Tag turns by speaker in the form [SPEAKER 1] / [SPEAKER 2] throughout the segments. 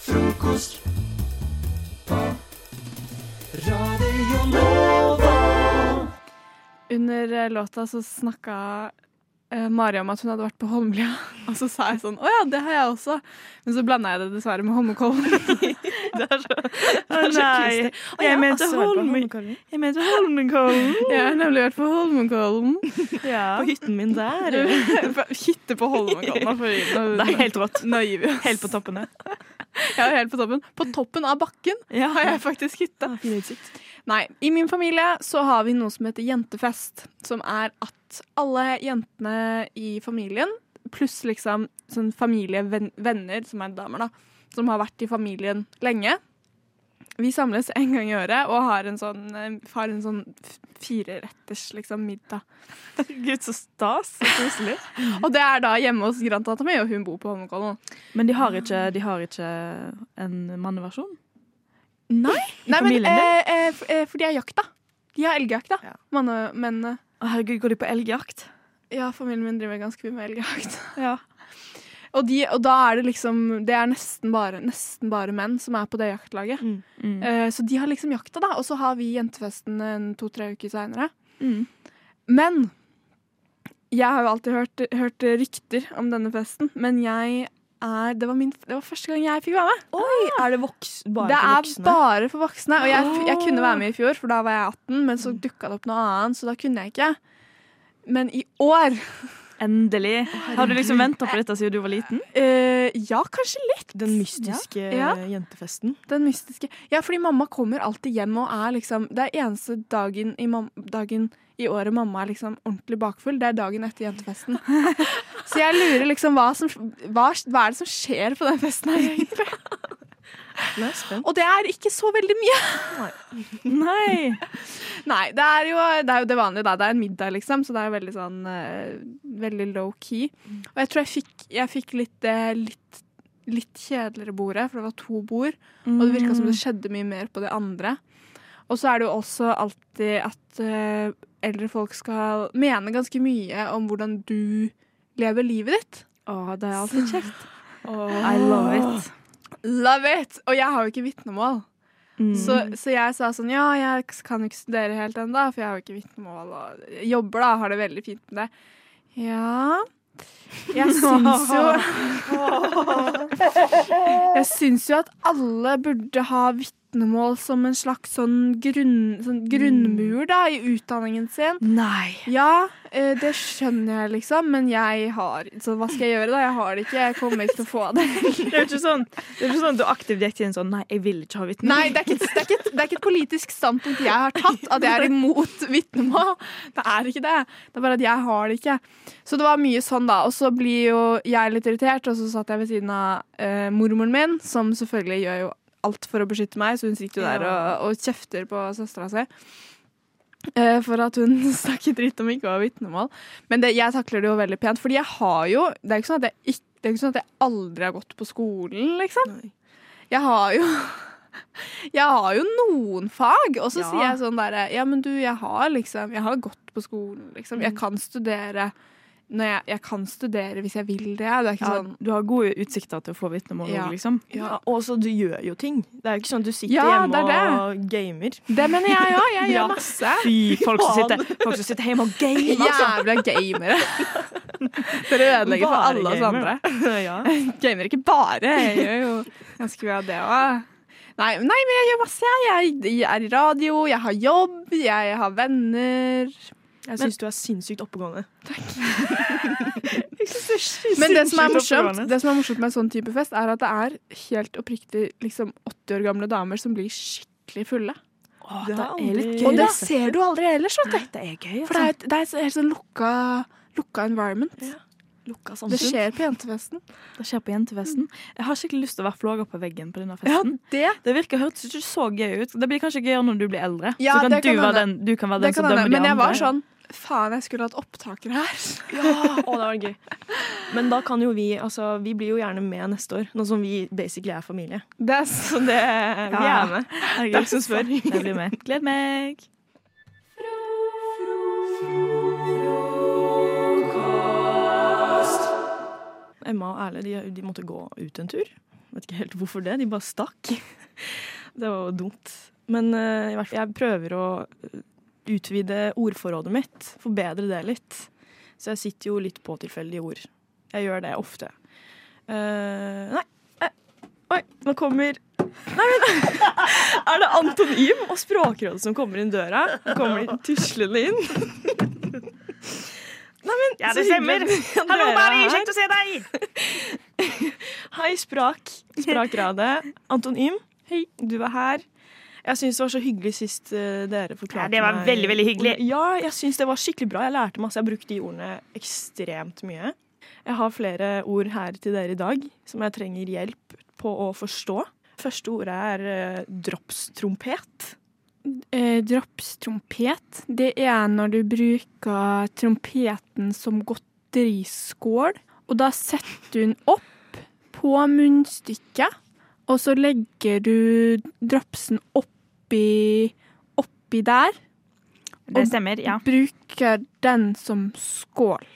[SPEAKER 1] frokost på Radio Nova.
[SPEAKER 2] Under eh, låta så snakka eh, Mari om at hun hadde vært på Holmlia, og så sa jeg sånn Å ja, det har jeg også. Men så blanda jeg det dessverre med Holmenkollen. Å altså, nei, jeg mente Holmen-
[SPEAKER 3] Jeg mente Holmenkollen.
[SPEAKER 2] Jeg har nemlig vært på Holmenkollen.
[SPEAKER 3] På hytten min der.
[SPEAKER 2] Hytte på Holmenkollen. nå får vi-
[SPEAKER 3] Det
[SPEAKER 2] nå-
[SPEAKER 3] er helt rått.
[SPEAKER 2] Nå gir vi oss.
[SPEAKER 3] Helt på toppene.
[SPEAKER 2] Jeg er helt på toppen. På toppen av bakken
[SPEAKER 3] Ja,
[SPEAKER 2] har jeg faktisk hytte.
[SPEAKER 3] Fin utsikt.
[SPEAKER 2] Nei, i min familie så har vi noe som heter jentefest, som er at alle jentene i familien, pluss liksom sånn familievenner, som er damer da, som har vært i familien lenge, vi samles en gang i året og har en sånn, eh, har en sånn f- fireretters liksom, middag.
[SPEAKER 3] Gud, så stas. Så koselig.
[SPEAKER 2] Og det er da hjemme hos grandtanta mi, og hun bor på Holmenkollen.
[SPEAKER 3] Men de har ikke, de har ikke en manneversjon?
[SPEAKER 2] Nei, Nei men
[SPEAKER 3] familien din?
[SPEAKER 2] eh, eh, f- eh, for de har jakta. De har elgjakt, da.
[SPEAKER 3] Ja.
[SPEAKER 2] Manne- Men eh,
[SPEAKER 3] Å, herregud, går de på elgjakt?
[SPEAKER 2] ja, familien min driver ganske mye med elgjakt.
[SPEAKER 3] Ja.
[SPEAKER 2] Og, de, og da er det liksom Det er nesten bare, nesten bare menn som er på det jaktlaget.
[SPEAKER 3] Mm.
[SPEAKER 2] Eh, så de har liksom jakta, da. Og så har vi jentefesten en to-tre uker seinere. Men jeg har jo alltid hørt, hørt rykter om denne festen, men jeg er det var, min, det var første gang jeg fikk være med.
[SPEAKER 3] Oi, er det voks, bare
[SPEAKER 2] det
[SPEAKER 3] for
[SPEAKER 2] er
[SPEAKER 3] voksne?
[SPEAKER 2] bare for voksne. Og jeg, jeg
[SPEAKER 3] Åh. Mm.
[SPEAKER 2] kunne være med i fjor, for da var jeg 18, men så dukka det opp noe annet, så da kunne jeg ikke. Men i år
[SPEAKER 3] Endelig. Har du liksom venta på dette siden du var liten?
[SPEAKER 2] eh, Ja, kanskje litt.
[SPEAKER 4] Den mystiske
[SPEAKER 2] Ja.
[SPEAKER 4] jentefesten.
[SPEAKER 2] Den mystiske. Ja, fordi mamma kommer alltid hjem og er liksom Det er eneste dagen i, mam dagen i året mamma er liksom ordentlig bakfull. Det er dagen etter jentefesten. Så jeg lurer liksom hva, som, hva, hva er det som skjer på den festen her egentlig?
[SPEAKER 4] Nå er jeg spent.
[SPEAKER 2] Og det er ikke så veldig mye.
[SPEAKER 3] Nei.
[SPEAKER 2] Nei, det er jo det, er jo det vanlige. Da. Det er en middag, liksom, så det er veldig sånn eh, Veldig low key. Og jeg tror jeg fikk, jeg fikk litt, eh, litt Litt kjedeligere bordet, for det var to bord. Og det virka som
[SPEAKER 3] Mm.
[SPEAKER 2] det skjedde mye mer på det andre. Og så er det jo også alltid at eh, eldre folk skal mene ganske mye om hvordan du lever livet ditt.
[SPEAKER 3] Å, det er alltid kjekt.
[SPEAKER 2] I
[SPEAKER 3] I love it.
[SPEAKER 2] Love it! Og jeg har jo ikke vitnemål.
[SPEAKER 3] Mm.
[SPEAKER 2] Så, så jeg sa sånn Ja, jeg kan jo ikke studere helt ennå, for jeg har jo ikke vitnemål. Og jeg jobber, da. Har det veldig fint med det. Ja Jeg syns jo Jeg syns jo at alle burde ha vitnemål som en slags sånn, grunn, sånn grunnmur da, i utdanningen sin.
[SPEAKER 3] Nei.
[SPEAKER 2] Ja, eh, det skjønner jeg, liksom, men jeg har Så hva skal jeg gjøre, da? Jeg har det ikke. Jeg kommer ikke til å få det.
[SPEAKER 3] Det er jo ikke sånn, det er ikke sånn at du aktivt gikk til en sånn Nei, jeg vil ikke ha vitne.
[SPEAKER 2] Nei, det er, ikke, det, er ikke, det er ikke et politisk standpunkt jeg har tatt, at jeg er imot vitnemål. Det er ikke det. Det er bare at jeg har det ikke. Så det var mye sånn, da. Og så blir jo jeg litt irritert, og så satt jeg ved siden av eh, mormoren min, som selvfølgelig gjør jo alt for å beskytte meg, så hun sitter jo der og, og kjefter på søstera si. eh, For at hun snakker dritt om ikke å ha vitnemål. Men det, jeg takler det jo veldig pent. Fordi jeg har jo Det er jo ikke sånn at jeg, ikke, det er jo ikke sånn at jeg aldri har gått på skolen, liksom.
[SPEAKER 4] Nei.
[SPEAKER 2] Jeg har jo jeg har jo noen fag, og så
[SPEAKER 3] Ja.
[SPEAKER 2] sier jeg sånn derre Ja, men du, jeg har liksom Jeg har gått på skolen, liksom. Jeg kan studere når jeg, jeg kan studere hvis jeg vil det. Det er ikke
[SPEAKER 3] Ja,
[SPEAKER 2] sånn
[SPEAKER 3] du har gode utsikter til å få vitnemål
[SPEAKER 2] Ja.
[SPEAKER 3] òg, liksom.
[SPEAKER 4] Ja, og så du gjør jo ting. Det er jo ikke sånn at du sitter
[SPEAKER 2] Ja,
[SPEAKER 4] hjemme
[SPEAKER 2] det er
[SPEAKER 4] og gamer.
[SPEAKER 2] Det mener jeg òg. Jeg gjør
[SPEAKER 3] Ja.
[SPEAKER 2] masse.
[SPEAKER 3] Fy, folk som sitter, folk som sitter hjemme og gamer. altså.
[SPEAKER 2] Jævla gamere. Dere ødelegger for
[SPEAKER 3] Bare
[SPEAKER 2] alle oss
[SPEAKER 3] gamer.
[SPEAKER 2] andre.
[SPEAKER 3] ja.
[SPEAKER 2] Gamer ikke bare. Jeg gjør jo ganske mye av det òg. Nei, nei, men jeg gjør masse. Jeg, jeg er i radio, jeg har jobb, jeg har venner.
[SPEAKER 4] Jeg syns du er sinnssykt oppegående.
[SPEAKER 2] Men det som, er
[SPEAKER 3] Sinnssykt
[SPEAKER 2] morsomt,
[SPEAKER 3] oppegående.
[SPEAKER 2] det som er morsomt med en sånn type fest, er at det er helt oppriktig liksom 80 år gamle damer som blir skikkelig fulle.
[SPEAKER 3] Å,
[SPEAKER 4] Det
[SPEAKER 3] det
[SPEAKER 4] har
[SPEAKER 3] er litt gøy.
[SPEAKER 4] aldri-
[SPEAKER 3] altså.
[SPEAKER 4] Og det
[SPEAKER 3] da.
[SPEAKER 2] ser du aldri ellers, vet du.
[SPEAKER 3] Det er gøy, altså.
[SPEAKER 2] For det er et, det er et helt sånn lukka, lukka environment.
[SPEAKER 4] Lukka
[SPEAKER 2] Det
[SPEAKER 4] samfunn.
[SPEAKER 2] skjer på jentefesten.
[SPEAKER 3] Det skjer på jentefesten. Jeg har skikkelig lyst til å være flåga på veggen på denne
[SPEAKER 2] Ja,
[SPEAKER 3] festen.
[SPEAKER 2] det,
[SPEAKER 3] Det virker hørtes ikke så gøy ut. Det blir kanskje gøyere når du blir eldre.
[SPEAKER 2] Ja,
[SPEAKER 3] så kan
[SPEAKER 2] det
[SPEAKER 3] du,
[SPEAKER 2] kan
[SPEAKER 3] være den,
[SPEAKER 2] hende.
[SPEAKER 3] du kan være
[SPEAKER 2] det
[SPEAKER 3] den som
[SPEAKER 2] kan hende.
[SPEAKER 3] dømmer de
[SPEAKER 2] Men jeg var
[SPEAKER 3] andre.
[SPEAKER 2] sånn Faen, jeg skulle hatt opptaker her.
[SPEAKER 4] Ja, å, det var gøy. Men da kan jo vi altså, Vi blir jo gjerne med neste år, nå som vi basically er familie.
[SPEAKER 2] Det er så det
[SPEAKER 3] Ja.
[SPEAKER 4] Vi er med.
[SPEAKER 3] Herregud,
[SPEAKER 4] Det er som spør.
[SPEAKER 3] Jeg blir med. Gled meg.
[SPEAKER 4] Emma og Erle de, de måtte gå ut en tur.
[SPEAKER 5] Vet ikke helt hvorfor det. De bare stakk. Det var jo dumt. Men eh, i hvert fall, jeg prøver å eh, utvide ordforrådet mitt. Forbedre det litt. Så jeg sitter jo litt på tilfeldige ord. Jeg gjør det ofte. Eh, nei eh, Oi, nå kommer Nei, men Er det Anton Ym og Språkrådet som kommer inn døra? Han kommer inn tuslende inn. Nei, men
[SPEAKER 2] Ja,
[SPEAKER 5] så
[SPEAKER 2] det stemmer.
[SPEAKER 5] hyggelig at
[SPEAKER 2] Hallo,
[SPEAKER 5] dere er
[SPEAKER 2] Mari!
[SPEAKER 5] her.
[SPEAKER 2] Kjekt å se deg!
[SPEAKER 5] Hei, Sprak. Sprakradet. Anton Ym, hei, du er her. Jeg syns det var så hyggelig sist eh, dere forklarte
[SPEAKER 2] Ja, det var
[SPEAKER 5] meg-
[SPEAKER 2] veldig, veldig hyggelig.
[SPEAKER 5] Ja, jeg syns det var skikkelig bra. Jeg lærte masse. Jeg brukte de ordene ekstremt mye. Jeg har flere ord her til dere i dag som jeg trenger hjelp på å forstå. Første ordet er eh, dropstrompet.
[SPEAKER 6] Eh, Dropstrompet, det er når du bruker trompeten som godteriskål, og da setter du den opp på munnstykket, og så legger du dropsen oppi, oppi der,
[SPEAKER 2] Det stemmer, ja.
[SPEAKER 6] bruker den som skål.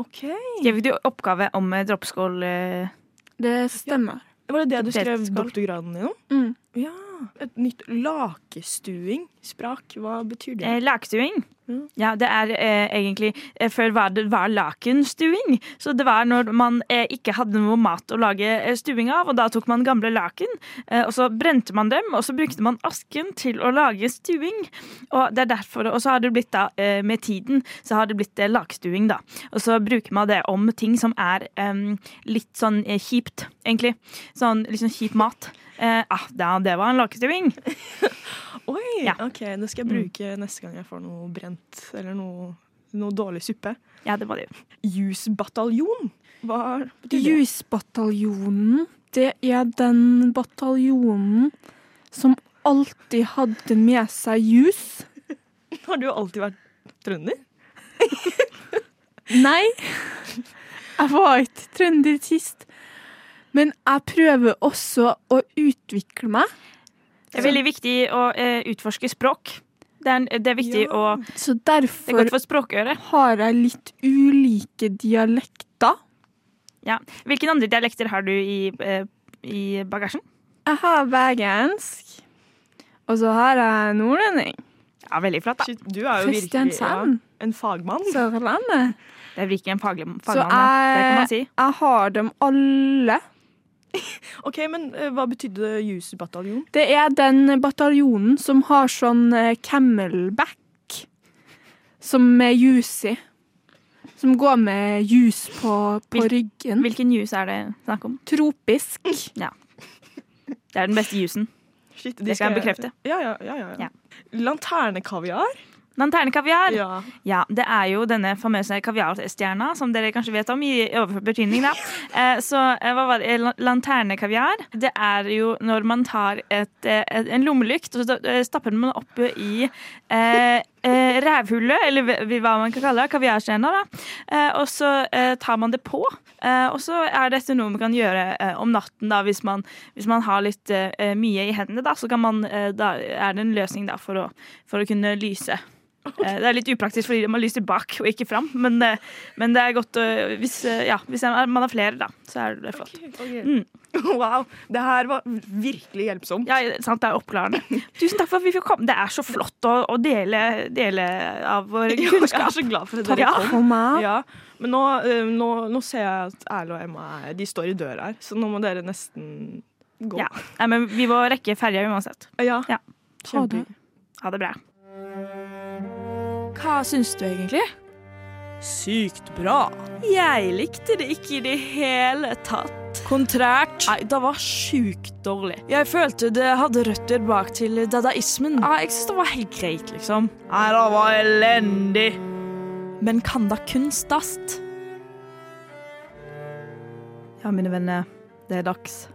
[SPEAKER 5] OK.
[SPEAKER 2] Jeg fikk jo oppgave om eh, droppskål eh,
[SPEAKER 6] Det stemmer.
[SPEAKER 5] Var det det du skrev
[SPEAKER 2] Potetskål.
[SPEAKER 5] doktorgraden din om?
[SPEAKER 6] Mm.
[SPEAKER 5] Ja. Et nytt lakestuing. Sprak, hva betyr det?
[SPEAKER 2] Eh, Lakstuing.
[SPEAKER 5] Mm.
[SPEAKER 2] Ja, det er eh, egentlig eh, Før var det var lakenstuing. Så det var når man eh, ikke hadde noe mat å lage eh, stuing av, og da tok man gamle laken, eh, og så brente man dem, og så brukte man asken til å lage stuing. Og det er derfor, og så har det blitt da, eh, med tiden, så har det blitt eh, lakstuing, da. Og så bruker man det om ting som er em, litt sånn eh, kjipt, egentlig. Sånn litt sånn kjip mat. Eh, ah, da, det var en lakestuing.
[SPEAKER 5] Oi,
[SPEAKER 2] Ja. Mm.
[SPEAKER 5] ok, det skal jeg bruke neste gang jeg får noe brent eller noe, noe dårlig suppe.
[SPEAKER 2] Ja, det var det.
[SPEAKER 5] Jusbataljon, hva betyr det?
[SPEAKER 6] Jusbataljonen, det er den bataljonen som alltid hadde med seg jus.
[SPEAKER 5] Har du jo alltid vært trønder?
[SPEAKER 6] Nei, jeg var ikke trønder sist. Men jeg prøver også å utvikle meg,
[SPEAKER 2] Det er veldig viktig å eh, utforske språk. Det er, det er viktig
[SPEAKER 5] Ja.
[SPEAKER 2] å
[SPEAKER 6] så
[SPEAKER 2] Det er godt
[SPEAKER 6] derfor
[SPEAKER 2] for språkøret.
[SPEAKER 6] har jeg litt ulike dialekter.
[SPEAKER 2] Ja. Hvilke andre dialekter har du i, eh, i bagasjen?
[SPEAKER 6] Jeg har bergensk, og så har jeg nordlending.
[SPEAKER 2] Ja, veldig flott, da.
[SPEAKER 5] Shit, Du er jo virkelig ja,
[SPEAKER 6] Kristiansand.
[SPEAKER 5] en fagmann.
[SPEAKER 6] Sørlandet.
[SPEAKER 2] Det er virkelig en faglig fagmann.
[SPEAKER 6] Så
[SPEAKER 2] da. Det kan man si.
[SPEAKER 6] jeg, jeg har dem alle.
[SPEAKER 5] Ok, men eh, hva betydde jusbataljon?
[SPEAKER 6] Det er den bataljonen som har sånn eh, camelback, som er juicy. Som går med jus på, på
[SPEAKER 2] Hvil-
[SPEAKER 6] ryggen.
[SPEAKER 2] Hvilken juice er det snakk om?
[SPEAKER 6] Tropisk.
[SPEAKER 2] Det er den beste juicen.
[SPEAKER 5] Shit,
[SPEAKER 2] Det skal jeg bekrefte.
[SPEAKER 5] Ja, ja, ja. ja,
[SPEAKER 2] Ja.
[SPEAKER 5] ja. Lanternekaviar?
[SPEAKER 2] Lanternekaviar. Ja.
[SPEAKER 5] Ja.
[SPEAKER 2] det er jo denne famøse kaviarstjerna, som dere kanskje vet om i overført betydning, da. Eh, så eh, hva var det? La- Lanternekaviar. Det er jo når man tar et, eh, et, en lommelykt, og så eh, stapper man opp i eh, eh, rævhullet, eller hva- hva man kan kalle det, kaviarstjerna, da. Eh, og så eh, tar man det på. Eh, og så er dette noe man kan gjøre eh, om natten, da, hvis man, hvis man har litt eh, mye i hendene, da, så kan man, eh, da er det en løsning da, for, å, for å kunne lyse. Eh, Det er litt upraktisk fordi man lyser bak og ikke fram, men, eh, men det er godt å- hvis, eh, ja, hvis man har flere, da, så er det flott. Mm.
[SPEAKER 5] Wow, det her var virkelig hjelpsom.
[SPEAKER 2] Ja, sant, det er oppklarende. Tusen takk for at vi fikk komme. Det er så flott å, å dele, dele av vår
[SPEAKER 5] Jeg
[SPEAKER 2] kunnskap.
[SPEAKER 5] er så glad for at
[SPEAKER 6] Takk
[SPEAKER 5] dere kom.
[SPEAKER 6] for meg.
[SPEAKER 5] Ja, men nå, eh, nå, nå ser jeg at Erle og Emma er, de står i døra her, så nå må dere nesten gå.
[SPEAKER 2] Ja. Nei, men vi må rekke ferja uansett.
[SPEAKER 5] Ja.
[SPEAKER 2] Ja.
[SPEAKER 6] Ha det.
[SPEAKER 2] Ha det bra.
[SPEAKER 7] Hva syns du egentlig? Sykt bra. Jeg likte det ikke i det hele tatt. Kontrært. Nei, det var sjukt dårlig. Jeg følte det hadde røtter bak til dadaismen. Ja, jeg syns det var helt greit, liksom. Nei, det var elendig. Men kan da kunstast?
[SPEAKER 2] Ja, mine venner, det er dags.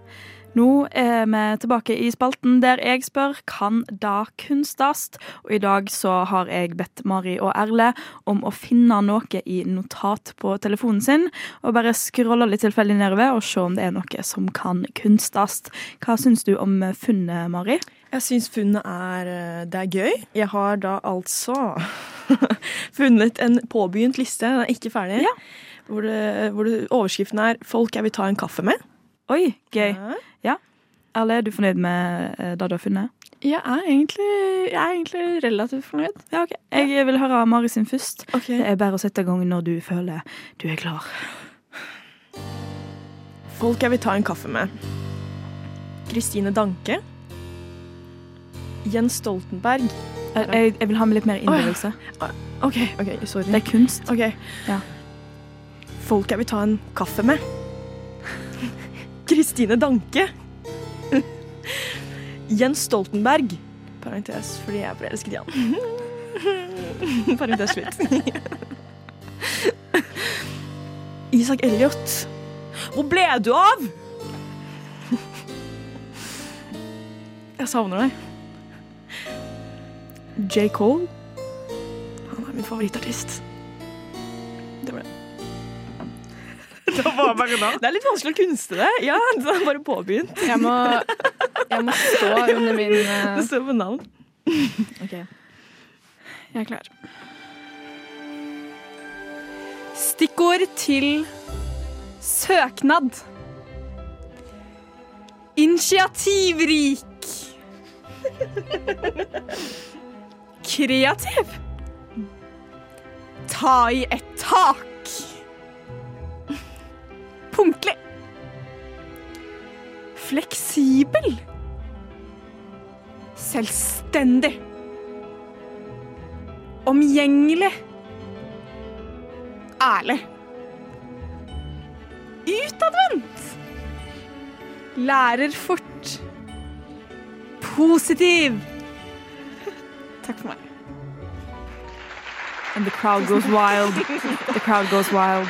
[SPEAKER 2] Nå er vi tilbake i spalten der jeg spør kan da kunstast? Og i dag så har jeg bedt Mari og Erle om å finne noe i notat på telefonen sin, og bare scrolle litt tilfeldig nedover og se om det er noe som kan kunstast. Hva syns du om funnet, Mari?
[SPEAKER 5] Jeg syns funnet er eh, Det er gøy. Jeg har da altså funnet en påbegynt liste, den er ikke ferdig, hvor, det, hvor det, overskriften er 'Folk jeg vil ta en kaffe med'.
[SPEAKER 3] Oi, gøy.
[SPEAKER 4] Ja.
[SPEAKER 3] Erle, er du fornøyd med eh, det du har funnet?
[SPEAKER 2] Jeg er egentlig, jeg er egentlig relativt fornøyd.
[SPEAKER 3] Ja, ok. Jeg eh, vil høre av Mari sin først.
[SPEAKER 4] Ok.
[SPEAKER 3] Det er bare å sette i gang når du føler du er klar.
[SPEAKER 4] Folk jeg vil ta en kaffe med. Kristine Danke. Jens Stoltenberg. Ah,
[SPEAKER 3] Jeg, Eh, jeg, jeg vil ha med litt mer innlevelse.
[SPEAKER 4] OK, ok,
[SPEAKER 3] Det
[SPEAKER 4] sorry.
[SPEAKER 3] er kunst.
[SPEAKER 4] Ok.
[SPEAKER 3] Ja.
[SPEAKER 4] Folk jeg vil ta en kaffe med. Kristine Danke. Jens Stoltenberg. Parentes fordi jeg er forelsket i han. Parentes slutt. Isak Elliot. Hvor ble du av? Jeg savner deg. J. Cole. Han er min favorittartist. Det var det. Det er litt vanskelig å kunste det. Ja, det er bare påbegynt.
[SPEAKER 2] Jeg må, jeg må stå under min eh,
[SPEAKER 4] Det står på navn.
[SPEAKER 2] Jeg er klar. Stikkord til søknad. Initiativrik. Kreativ. Ta i et tak. Punktlig. Fleksibel. Selvstendig omgjengelig, ærlig, utadvendt, lærer fort, positiv. Takk for meg.
[SPEAKER 3] And the crowd goes wild. The crowd goes wild.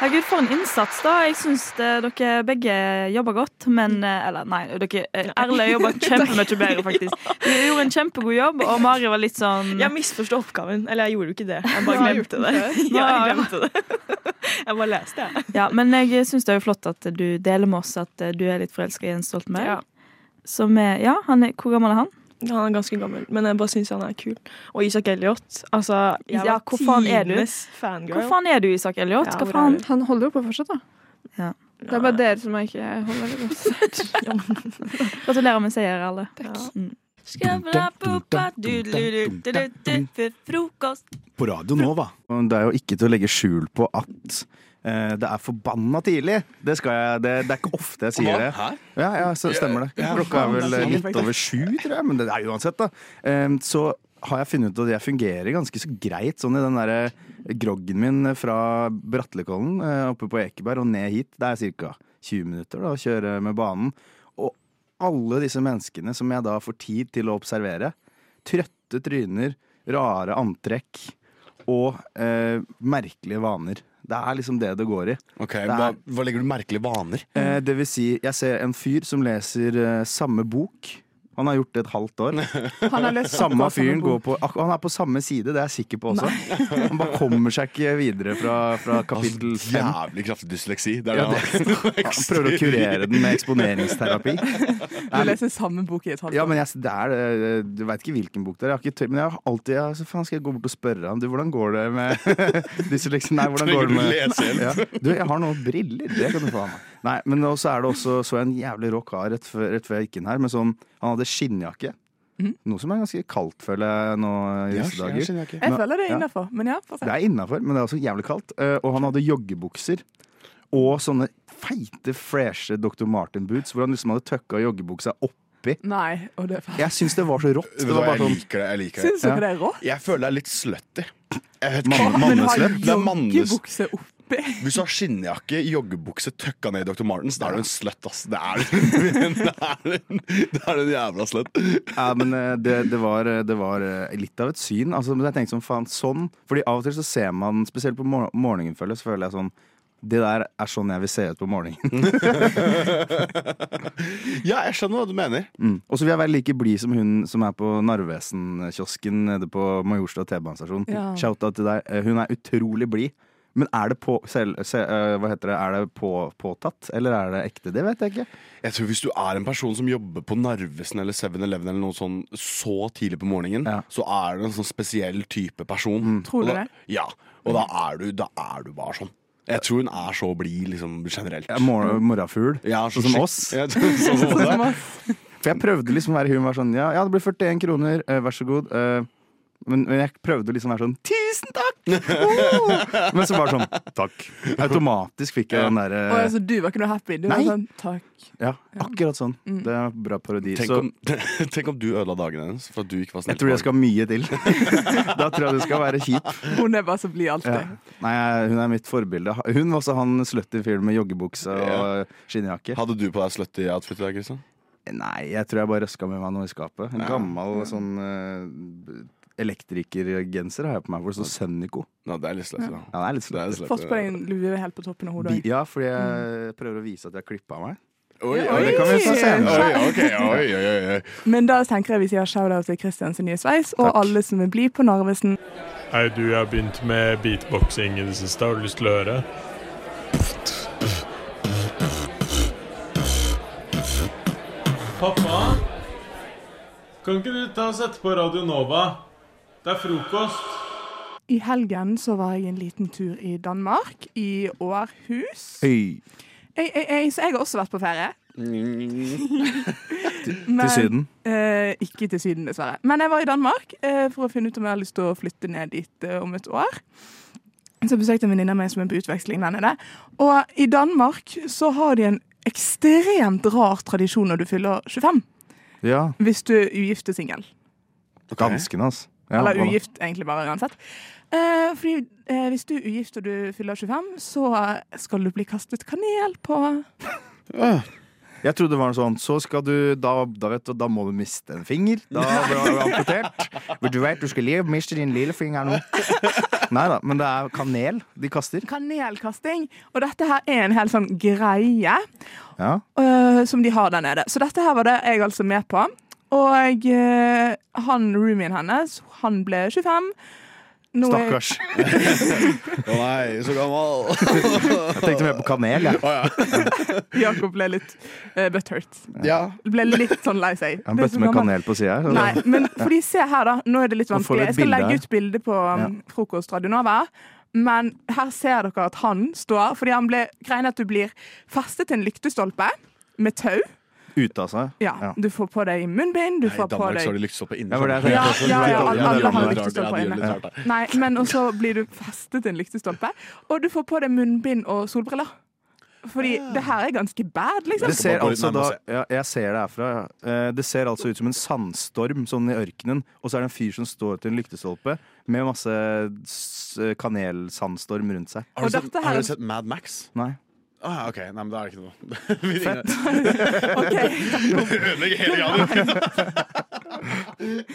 [SPEAKER 3] Herregud, for en innsats, da. Jeg syns eh, dere begge jobber godt, men eh, Eller, nei, dere eh, Erle jobber kjempemye bedre, faktisk. Du gjorde en kjempegod jobb, og Mari var litt sånn
[SPEAKER 4] Jeg misforsto oppgaven. Eller jeg gjorde jo ikke det. Jeg
[SPEAKER 2] Du
[SPEAKER 4] bare
[SPEAKER 2] har
[SPEAKER 4] glemte
[SPEAKER 2] gjort
[SPEAKER 4] det. Ja,
[SPEAKER 2] den
[SPEAKER 3] Ja, ja.
[SPEAKER 4] jeg glemte det. Jeg bare leste, jeg.
[SPEAKER 3] Ja, men jeg syns det er jo flott at du deler med oss at eh, du er litt forelska i Jens Stoltenberg.
[SPEAKER 4] Ja.
[SPEAKER 3] Som er, ja, han er, hvor gammel er han?
[SPEAKER 4] Han er ganske gammel, men jeg bare syns han er kul. Og Isak Elliot. Altså, jeg
[SPEAKER 3] Ja,
[SPEAKER 4] var
[SPEAKER 3] hvor faen er du?
[SPEAKER 4] tidenes fangirl.
[SPEAKER 3] Hvor faen er du, Isak Elliot?
[SPEAKER 4] Ja,
[SPEAKER 3] Hva
[SPEAKER 4] hvor er
[SPEAKER 3] faen?
[SPEAKER 4] du?
[SPEAKER 2] Han holder jo på fortsatt, da.
[SPEAKER 3] Ja.
[SPEAKER 2] Det er bare dere som ikke holder det.
[SPEAKER 3] Gratulerer med seier, alle.
[SPEAKER 8] Frokost.
[SPEAKER 9] på Radio Nova. Og Det er jo ikke til å legge skjul på at eh, det er forbanna tidlig. Det, skal jeg, det, det er ikke ofte jeg sier det.
[SPEAKER 1] Hæ?
[SPEAKER 9] Ja, ja, så stemmer det.
[SPEAKER 1] Ja,
[SPEAKER 9] Klokka er
[SPEAKER 1] faen,
[SPEAKER 9] vel
[SPEAKER 1] det er sant.
[SPEAKER 9] litt over sju, tror jeg, men det er uansett, da. Eh, Så har jeg funnet ut at jeg fungerer ganske så greit sånn i den derre groggen min fra Bratlekollen eh, oppe på Ekeberg og ned hit. Det er ca. 20 minutter da, å kjøre med banen. Og alle disse menneskene som jeg da får tid til å observere. Trøtte tryner, rare antrekk og eh, merkelige vaner. Det er liksom det det går i.
[SPEAKER 1] Ok,
[SPEAKER 9] er-
[SPEAKER 1] hva, hva legger du merkelige vaner?
[SPEAKER 9] Eh, det vil si, jeg ser en fyr som leser eh, samme bok. Han har gjort det et halvt år.
[SPEAKER 2] Han har løst
[SPEAKER 9] Samme fyren går på ak- Han er på samme side, det er jeg sikker på også. Han bare kommer seg ikke videre fra, fra kapittel
[SPEAKER 1] Altså,
[SPEAKER 9] fem.
[SPEAKER 1] jævlig kraftig dysleksi. Det er
[SPEAKER 9] Ja,
[SPEAKER 1] det han
[SPEAKER 9] Han prøver å kurere den med eksponeringsterapi.
[SPEAKER 10] Du leser samme bok i et halvt
[SPEAKER 9] Ja,
[SPEAKER 10] år.
[SPEAKER 9] men jeg, det er, eh, Du veit ikke hvilken bok det er. Jeg har ikke tø- men jeg har alltid jeg, så faen skal jeg gå bort og spørre ham du, hvordan går det med dysleksi? Nei, hvordan
[SPEAKER 1] Trenger
[SPEAKER 9] går det
[SPEAKER 1] du
[SPEAKER 9] med
[SPEAKER 1] lesehjelp?
[SPEAKER 9] Ja. Du, jeg har noen briller. Det kan du få av meg. Nei, men også er det også så jeg en jævlig rå kar rett før, rett før jeg gikk inn her. Med sånn, han hadde skinnjakke.
[SPEAKER 10] Mhm.
[SPEAKER 9] Noe som er ganske kaldt, føler jeg, nå i disse dager.
[SPEAKER 1] dager.
[SPEAKER 10] Jeg føler det er
[SPEAKER 9] Ja.
[SPEAKER 10] innafor, men ja. fortsett.
[SPEAKER 9] Det er innafor, men det er også jævlig kaldt. Eh, Og han hadde joggebukser. Og sånne feite, freshe Dr. Martin-boots, hvor han liksom hadde tøkka joggebuksa oppi.
[SPEAKER 10] Nei, og det er feil.
[SPEAKER 9] Jeg syns det var så rått.
[SPEAKER 1] Vet
[SPEAKER 9] Det
[SPEAKER 1] du hva,
[SPEAKER 9] var bare
[SPEAKER 1] jeg
[SPEAKER 9] sånn
[SPEAKER 1] liker det. Jeg liker det.
[SPEAKER 10] Syns dere det er rått?
[SPEAKER 1] Jeg føler det er litt slutty. Jeg vet
[SPEAKER 9] Man-
[SPEAKER 1] ikke.
[SPEAKER 9] man-
[SPEAKER 10] Men å ha
[SPEAKER 9] Manneslett?
[SPEAKER 1] Det er mannes...
[SPEAKER 10] joggebukse oppi
[SPEAKER 1] Hvis du har skinnjakke, joggebukse, tøkka ned i Dr. Martens, da er du en slutt, ass. Det er du. Det er en, det er en jævla slutt.
[SPEAKER 9] Ja, men eh, det, det, var, det var eh, litt av et syn. Altså, men jeg tenkte sånn, faen, sånn Fordi av og til så ser man, spesielt på mor morgenen, føler jeg, så føler jeg sånn det der er sånn jeg vil se ut på morgenen.
[SPEAKER 1] Ja, jeg skjønner hva du mener.
[SPEAKER 9] Mm. Og så vil jeg være like blid som hun som er på Narvesen-kiosken nede på Majorstua T-banestasjon.
[SPEAKER 10] Ja.
[SPEAKER 9] Shout-out til deg. Eh, Hun er utrolig blid. Men er det, på, selv, se, eh, hva heter det, er det på, påtatt, eller er det ekte? Det vet jeg ikke.
[SPEAKER 1] Jeg tror Hvis du er en person som jobber på Narvesen eller 7-Eleven eller noe sånn så tidlig på morgenen,
[SPEAKER 9] Ja. Mm.
[SPEAKER 1] så er du en sånn spesiell type person.
[SPEAKER 10] Tror du
[SPEAKER 1] Og da-
[SPEAKER 10] det?
[SPEAKER 1] Ja. Og da er du, da er du bare sånn. Jeg tror hun er så blid liksom, generelt. Mm.
[SPEAKER 9] Ja, mor morrafugl.
[SPEAKER 1] Ja,
[SPEAKER 9] Sånn som
[SPEAKER 1] skikk-
[SPEAKER 9] oss.
[SPEAKER 1] Ja, sånn som
[SPEAKER 9] Sånn
[SPEAKER 1] oss.
[SPEAKER 9] som oss. For jeg prøvde liksom å være hun var sånn Ja, ja det blir 41 kroner, eh, vær så god. eh, men, men jeg prøvde liksom å være sånn Tusen takk! Oh! Men så var det sånn Takk. Automatisk fikk jeg den derre
[SPEAKER 10] Å, altså, du var ikke noe happy. Du
[SPEAKER 9] eh, Nei.
[SPEAKER 10] var sånn takk.
[SPEAKER 9] Ja, akkurat sånn.
[SPEAKER 10] Mm.
[SPEAKER 9] Det er bra parodi.
[SPEAKER 1] Tenk
[SPEAKER 9] så
[SPEAKER 1] om, tenk om du ødela dagen hennes for at du ikke var sånn snill.
[SPEAKER 9] jeg tror jeg skal mye til. da tror jeg du skal være kjip.
[SPEAKER 10] Hun er bare så blid alltid.
[SPEAKER 9] Ja. Nei, hun er mitt forbilde. Hun var også han slutty fyren med joggebukse og skinnjakke.
[SPEAKER 1] Hadde du på deg slutty outfit i dag, Kristian?
[SPEAKER 9] Nei, jeg tror jeg bare røska med meg noe i skapet. En
[SPEAKER 1] Ja.
[SPEAKER 9] gammel sånn eh, elektrikergenser har jeg på meg hvor det står Sønniko.
[SPEAKER 1] Nei, det er litt slutty, da.
[SPEAKER 9] Ja, det er litt
[SPEAKER 1] Det er
[SPEAKER 9] slutty.
[SPEAKER 1] slutty.
[SPEAKER 10] Fått på deg en lue helt på toppen av hodet òg.
[SPEAKER 9] Ja, fordi jeg prøver å vise at jeg har klippa meg.
[SPEAKER 1] Oi,
[SPEAKER 10] Ja,
[SPEAKER 1] oi,
[SPEAKER 9] Mm. det kan vi ta senere.
[SPEAKER 1] oi, ok, oi, oi, oi, oi.
[SPEAKER 10] Men da tenker jeg vi sier shout-out til Kristians nye sveis, og alle som vil bli på Narvesen.
[SPEAKER 11] Hei, du, jeg har begynt med beatboxing i det siste. Har du lyst til å høre? Pappa? Kan ikke du ta og sette på Radio Nova? Det er frokost.
[SPEAKER 10] I helgen så var jeg en liten tur i Danmark, i Århus.
[SPEAKER 9] Øy,
[SPEAKER 10] Ei, ei, ei, så jeg har også vært på ferie.
[SPEAKER 9] til
[SPEAKER 10] Men-
[SPEAKER 9] Syden.
[SPEAKER 10] Eh, ikke til Syden, dessverre. Men jeg var i Danmark eh, for å finne ut om jeg hadde lyst til å flytte ned dit eh, om et år. Så besøkte en venninne av meg som er på utveksling der nede. Og i Danmark så har de en ekstremt rar tradisjon når du fyller 25.
[SPEAKER 9] Ja,
[SPEAKER 10] Hvis du er ugift og singel.
[SPEAKER 9] danskene, altså. Ja,
[SPEAKER 10] Eller
[SPEAKER 9] hva da?
[SPEAKER 10] ugift, egentlig bare uansett. Eh, fordi eh, hvis du er ugift og du fyller 25, så eh, skal du bli kastet kanel på.
[SPEAKER 9] Jeg trodde det var noe sånn Så skal du da, da, vet du, da må du miste en finger. Da blir du amputert. Men du vet du skal leve, miste din lille finger nå. Nei da, men det er kanel de kaster.
[SPEAKER 10] Kanelkasting. Og dette her er en helt sånn greie.
[SPEAKER 9] Ja.
[SPEAKER 10] øh, som de har der nede. Så dette her var det jeg altså med på. Og øh, han, roomien hennes, han ble 25. Nå er-
[SPEAKER 9] Stakkars.
[SPEAKER 1] Å nei, så gammel!
[SPEAKER 9] Jeg tenkte mer på kanel, jeg.
[SPEAKER 10] Jakob ble litt uh, butthurt.
[SPEAKER 1] Ja.
[SPEAKER 10] Ble litt sånn lei seg.
[SPEAKER 9] En
[SPEAKER 10] Det er så
[SPEAKER 9] bøtte med
[SPEAKER 10] gammel.
[SPEAKER 9] kanel på sida her.
[SPEAKER 10] Nei, men fordi se her, da. Nå er det litt
[SPEAKER 9] Nå får vi et
[SPEAKER 10] vanskelig. Jeg skal
[SPEAKER 9] bilde her.
[SPEAKER 10] legge ut bilde på um, frokostradio Nova. Men her ser dere at han står, fordi han ble greien er at du blir festet til en lyktestolpe med tau.
[SPEAKER 9] Ute av seg.
[SPEAKER 10] Ja,
[SPEAKER 9] Ja.
[SPEAKER 10] Du får på deg munnbind, du
[SPEAKER 1] Nei, I
[SPEAKER 10] får på
[SPEAKER 1] Danmark så
[SPEAKER 10] deg
[SPEAKER 1] har de lyktestolpe inne.
[SPEAKER 9] Ja, for det er det jeg
[SPEAKER 10] Ja,
[SPEAKER 9] tenkte også.
[SPEAKER 10] ja,
[SPEAKER 9] Du vet
[SPEAKER 10] ja,
[SPEAKER 9] aldri
[SPEAKER 10] alle-
[SPEAKER 9] når det
[SPEAKER 10] alle har
[SPEAKER 9] lander.
[SPEAKER 10] lykt. lyktestolper
[SPEAKER 1] Ja, de gjør
[SPEAKER 10] inne.
[SPEAKER 1] litt rart, da.
[SPEAKER 10] Nei, men også blir du festet til en lyktestolpe, og du får på deg munnbind og solbriller. Fordi det her er ganske bad, liksom.
[SPEAKER 9] Det ser
[SPEAKER 1] Bare gå
[SPEAKER 9] altså
[SPEAKER 1] litt
[SPEAKER 9] da,
[SPEAKER 1] nærmere
[SPEAKER 9] ja, jeg ser det herfra. ja. Eh, Det ser altså ut som en sandstorm sånn i ørkenen, og så er det en fyr som står til en lyktestolpe med masse s- kanelsandstorm rundt seg.
[SPEAKER 1] Har
[SPEAKER 10] Og
[SPEAKER 1] du, sett,
[SPEAKER 10] dette her-
[SPEAKER 1] har du sett Mad Max?
[SPEAKER 9] Nei.
[SPEAKER 1] Ah, ja, ok, Nei, men da er det ikke noe. Vi ringer.
[SPEAKER 10] Ok.
[SPEAKER 1] Ødelegger hele graven.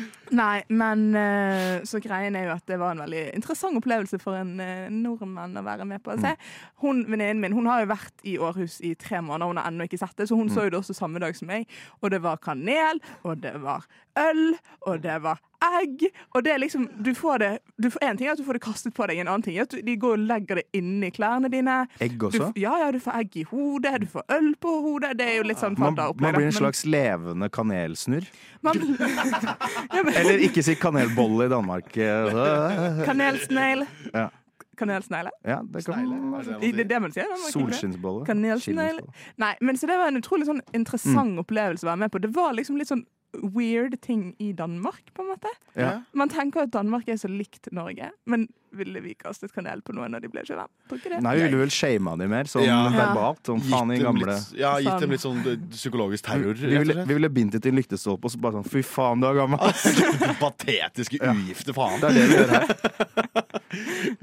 [SPEAKER 10] Nei, men eh, så greien er jo at det var en veldig interessant opplevelse for en eh, nordmann å være med på.
[SPEAKER 9] Mm.
[SPEAKER 10] Se, hun, Venninnen min hun har jo vært i Århus i tre måneder, hun har ennå ikke sett det, så
[SPEAKER 9] Mm.
[SPEAKER 10] hun så jo det også samme dag som meg. Og det var kanel, og det var øl, og det var egg. Og det er liksom du får det, du får, En ting er at du får det kastet på deg, en annen ting er at du, de går og legger det inni klærne dine.
[SPEAKER 9] Egg
[SPEAKER 10] Du,
[SPEAKER 9] også.
[SPEAKER 10] ja, ja, du får egg i hodet, du får øl på hodet. Det er jo litt sånn
[SPEAKER 9] Man, man
[SPEAKER 10] fadderopplegg.
[SPEAKER 9] blir en slags levende kanelsnurr.
[SPEAKER 10] ja, men-
[SPEAKER 9] Eller ikke si kanelbolle i Danmark. Eh,
[SPEAKER 10] Kanelsnegl.
[SPEAKER 9] Ja.
[SPEAKER 10] Kanelsnegle.
[SPEAKER 9] Ja, det kan
[SPEAKER 10] I- Det er det man sier. men man kan ikke det.
[SPEAKER 9] Solskinnsbolle.
[SPEAKER 10] Kanelsnegl.
[SPEAKER 9] Chilinsbolle.
[SPEAKER 10] Nei, men så det var en utrolig sånn interessant
[SPEAKER 9] Mm.
[SPEAKER 10] opplevelse å være med på. Det var liksom litt sånn weird ting i Danmark, på en måte.
[SPEAKER 9] Ja.
[SPEAKER 10] Man tenker at Danmark er så likt Norge, men ville vi kastet kanel på noen når de ble 25? Tror ikke det.
[SPEAKER 9] Nei, vi ville vel shama de mer, sånn
[SPEAKER 1] Ja.
[SPEAKER 9] verbalt. Sånn
[SPEAKER 1] Gitt
[SPEAKER 9] faen i
[SPEAKER 1] dem
[SPEAKER 9] gamle Mm.
[SPEAKER 1] litt- Ja, gitt dem litt sånn eh, psykologisk terror.
[SPEAKER 9] Vi
[SPEAKER 1] rett og
[SPEAKER 9] ville,
[SPEAKER 1] slett.
[SPEAKER 9] vi ville bindt det til en lyktestolpe og så bare sånn fy faen, du er gammel.
[SPEAKER 1] Patetiske, ugifte faen.
[SPEAKER 9] Det er det vi gjør her.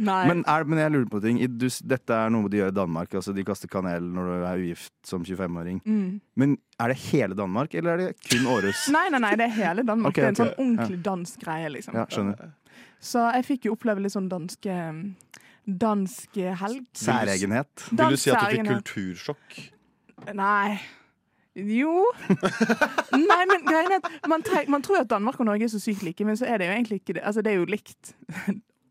[SPEAKER 10] Nei.
[SPEAKER 9] Men, er, men jeg lurer på en ting. I- Du, s- dette er noe de gjør i Danmark. Altså de kaster kanel når du er ugift som 25-åring.
[SPEAKER 10] Mm.
[SPEAKER 9] Men er det hele Danmark, eller er det kun Århus?
[SPEAKER 10] Nei, nei, nei, det er hele Danmark.
[SPEAKER 9] Ok,
[SPEAKER 10] Det er en
[SPEAKER 9] ok.
[SPEAKER 10] sånn ordentlig dansk greie, liksom.
[SPEAKER 9] Ja, skjønner.
[SPEAKER 10] Så jeg fikk jo oppleve litt sånn dansk eh, Dansk helg.
[SPEAKER 9] Særegenhet.
[SPEAKER 1] Vil du si at du fikk
[SPEAKER 10] Dansk særegenhet.
[SPEAKER 1] kultursjokk?
[SPEAKER 10] Nei. Jo. Nei, men greien er at man, tre- man tror jo at Danmark og Norge er så sykt like, men så er det jo egentlig ikke det. Altså, det er jo likt,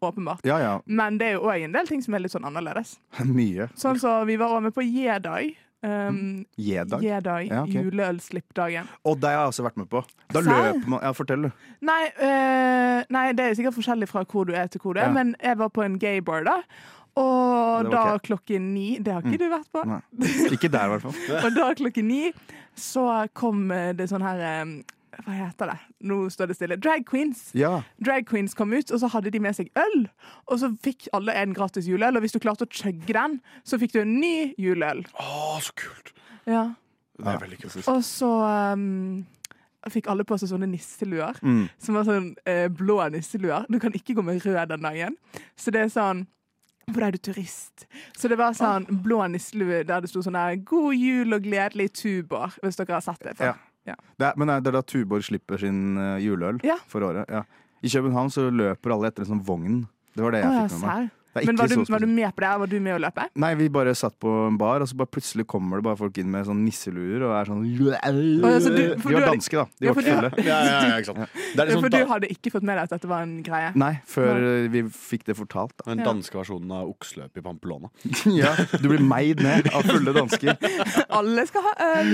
[SPEAKER 10] åpenbart.
[SPEAKER 9] Ja ja,
[SPEAKER 10] Men det er jo òg en del ting som er litt sånn annerledes.
[SPEAKER 9] mye.
[SPEAKER 10] Sånn som vi var også med på Jedai. Um,
[SPEAKER 9] Jedag.
[SPEAKER 10] Jedai,
[SPEAKER 9] Mm. Ja, ok.
[SPEAKER 10] juleølslippdagen.
[SPEAKER 9] Og det har jeg også vært med på. Da
[SPEAKER 10] Serr?
[SPEAKER 9] løper man Ja, fortell, du.
[SPEAKER 10] Nei, eh, nei, det er sikkert forskjellig fra hvor du er til hvor du er,
[SPEAKER 9] Ja.
[SPEAKER 10] men jeg var på en gaybar da.
[SPEAKER 9] Det var
[SPEAKER 10] Og da
[SPEAKER 9] ok.
[SPEAKER 10] klokken ni Det har ikke du vært på.
[SPEAKER 9] Mm. Nei. Ikke der, i hvert fall.
[SPEAKER 10] Og da klokken ni så kom eh, det sånn her eh, Hva heter det? Nå står det stille. Drag queens.
[SPEAKER 9] Ja.
[SPEAKER 10] Drag queens kom ut, og så hadde de med seg øl. Og så fikk alle en gratis juleøl, og hvis du klarte å chugge den, så fikk du en ny juleøl.
[SPEAKER 1] Å, så kult!
[SPEAKER 10] Ja.
[SPEAKER 1] Det er veldig kult.
[SPEAKER 10] Og så um, fikk alle på seg sånne nisseluer,
[SPEAKER 9] Mm.
[SPEAKER 10] som var sånn eh, blå nisseluer. Du kan ikke gå med rød den dagen. Så det er sånn hvor er du turist? Så det var sånn blå nisselue der det sto sånn her 'God jul og gledelig Tuborg', hvis dere har sett det før.
[SPEAKER 9] Ja. Det er, men eh, det er da Tuborg slipper sin eh, juleøl
[SPEAKER 10] Ja.
[SPEAKER 9] for året. Ja. I København så løper alle etter en sånn vogn. Det var det jeg
[SPEAKER 10] Å, ja,
[SPEAKER 9] fikk med meg.
[SPEAKER 10] serr.
[SPEAKER 9] Det er
[SPEAKER 10] Men
[SPEAKER 9] ikke
[SPEAKER 10] var du,
[SPEAKER 9] så
[SPEAKER 10] var du
[SPEAKER 9] spesielt.
[SPEAKER 10] med på det? her? Var du med å løpe?
[SPEAKER 9] Nei, vi bare satt på en bar, og så bare plutselig kommer det bare folk inn med sånn nisseluer og er sånn
[SPEAKER 10] ja, så du- for
[SPEAKER 9] De var
[SPEAKER 10] du hadde-
[SPEAKER 9] danske, da. De
[SPEAKER 10] Ja,
[SPEAKER 9] var
[SPEAKER 10] for
[SPEAKER 9] ikke
[SPEAKER 10] du-
[SPEAKER 9] fulle.
[SPEAKER 1] Ja, ja, ja, ikke sant. Det er
[SPEAKER 10] Ja,
[SPEAKER 1] liksom
[SPEAKER 10] for
[SPEAKER 1] da,
[SPEAKER 10] du hadde ikke fått med deg at dette var en greie?
[SPEAKER 9] sånn Nei, før eh, vi fikk det fortalt, da.
[SPEAKER 1] den danske versjonen av okseløp i Pamplona.
[SPEAKER 9] Ja, du blir meid ned av fulle dansker.
[SPEAKER 10] Alle skal ha øl!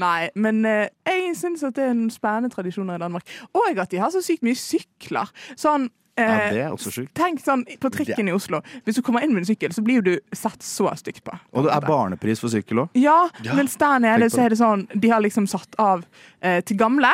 [SPEAKER 10] Nei, men eh, jeg syns at det er noen spennende tradisjoner i Danmark. Og at de har så sykt mye sykler. Sånn eh,
[SPEAKER 9] Ja, det er også sjukt.
[SPEAKER 10] Tenk sånn på trikken i Oslo. Hvis du kommer inn med en sykkel, så blir jo du sett så stygt på.
[SPEAKER 9] Og det er barnepris for sykkel òg.
[SPEAKER 10] Ja,
[SPEAKER 1] Ja,
[SPEAKER 10] mens der nede
[SPEAKER 9] tenk på
[SPEAKER 10] så er det sånn De har liksom satt av eh, til gamle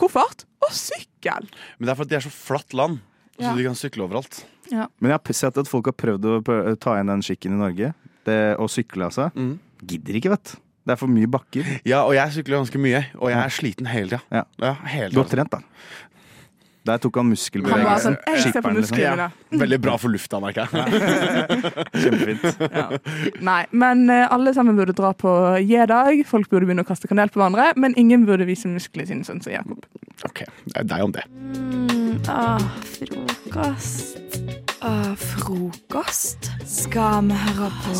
[SPEAKER 10] koffert og sykkel.
[SPEAKER 1] Men det er fordi det er så flatt land, så
[SPEAKER 10] Ja.
[SPEAKER 1] de kan sykle overalt.
[SPEAKER 9] Men jeg har sett at folk har prøvd å prø- ta igjen den skikken i Norge. Det, å sykle, altså.
[SPEAKER 1] Mm.
[SPEAKER 9] Gidder ikke, vet du. Det er for mye bakker.
[SPEAKER 1] Ja, og jeg sykler ganske mye, og jeg er sliten hele tida.
[SPEAKER 9] Ja.
[SPEAKER 1] Ja, hele
[SPEAKER 9] Godt
[SPEAKER 1] tiden.
[SPEAKER 9] trent, da. Der tok han
[SPEAKER 10] Han var
[SPEAKER 9] muskelbevegelse.
[SPEAKER 10] sånn Jeg ser på
[SPEAKER 9] Skipperen, liksom.
[SPEAKER 10] musklene Mm. mine.
[SPEAKER 1] Veldig bra for lufta, merker jeg.
[SPEAKER 9] Kjempefint.
[SPEAKER 10] Nei, men eh, alle sammen burde dra på J-dag. Folk burde begynne å kaste kanel på hverandre. Men ingen burde vise musklene sine, sånn som Jakob.
[SPEAKER 1] Ok, det er deg om det.
[SPEAKER 5] Mm,
[SPEAKER 8] Ah, frokost. Ah, frokost? Skal vi høre på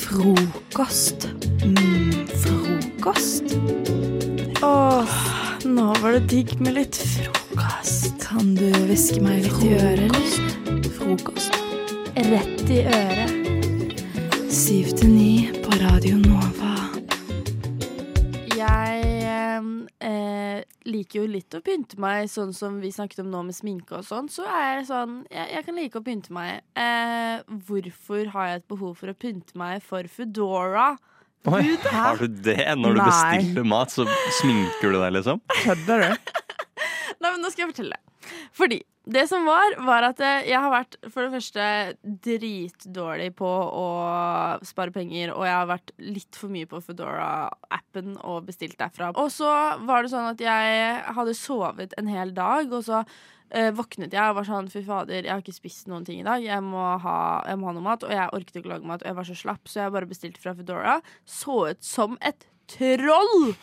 [SPEAKER 8] frokost? Mm, frokost? Åh, nå var det digg med litt frokost. Kan du hviske meg litt i øret, eller? Frokost.
[SPEAKER 12] Rett i øret.
[SPEAKER 8] Syv til ni på Radio Nova.
[SPEAKER 12] Jeg eh, eh, liker jo litt å pynte meg, sånn som vi snakket om nå med sminke og sånn. Så er jeg sånn Jeg, jeg kan like å pynte meg. Eh, hvorfor har jeg et behov for å pynte meg for Foodora?
[SPEAKER 13] Har du det? Når du
[SPEAKER 10] Nei.
[SPEAKER 13] bestiller mat, så sminker du deg, liksom?
[SPEAKER 10] Kødder du?
[SPEAKER 12] Nei, men nå skal jeg fortelle. Fordi det som var, var at eh, jeg har vært for det første dritdårlig på å spare penger, og jeg har vært litt for mye på Foodora-appen og bestilt derfra. Og så var det sånn at jeg hadde sovet en hel dag, og så eh, våknet jeg og var sånn fy fader, jeg har ikke spist noen ting i dag, jeg må ha, jeg må ha noe mat. Og jeg orket ikke å lage mat, og jeg var så slapp, så jeg bare bestilte fra Foodora. Så ut som et troll!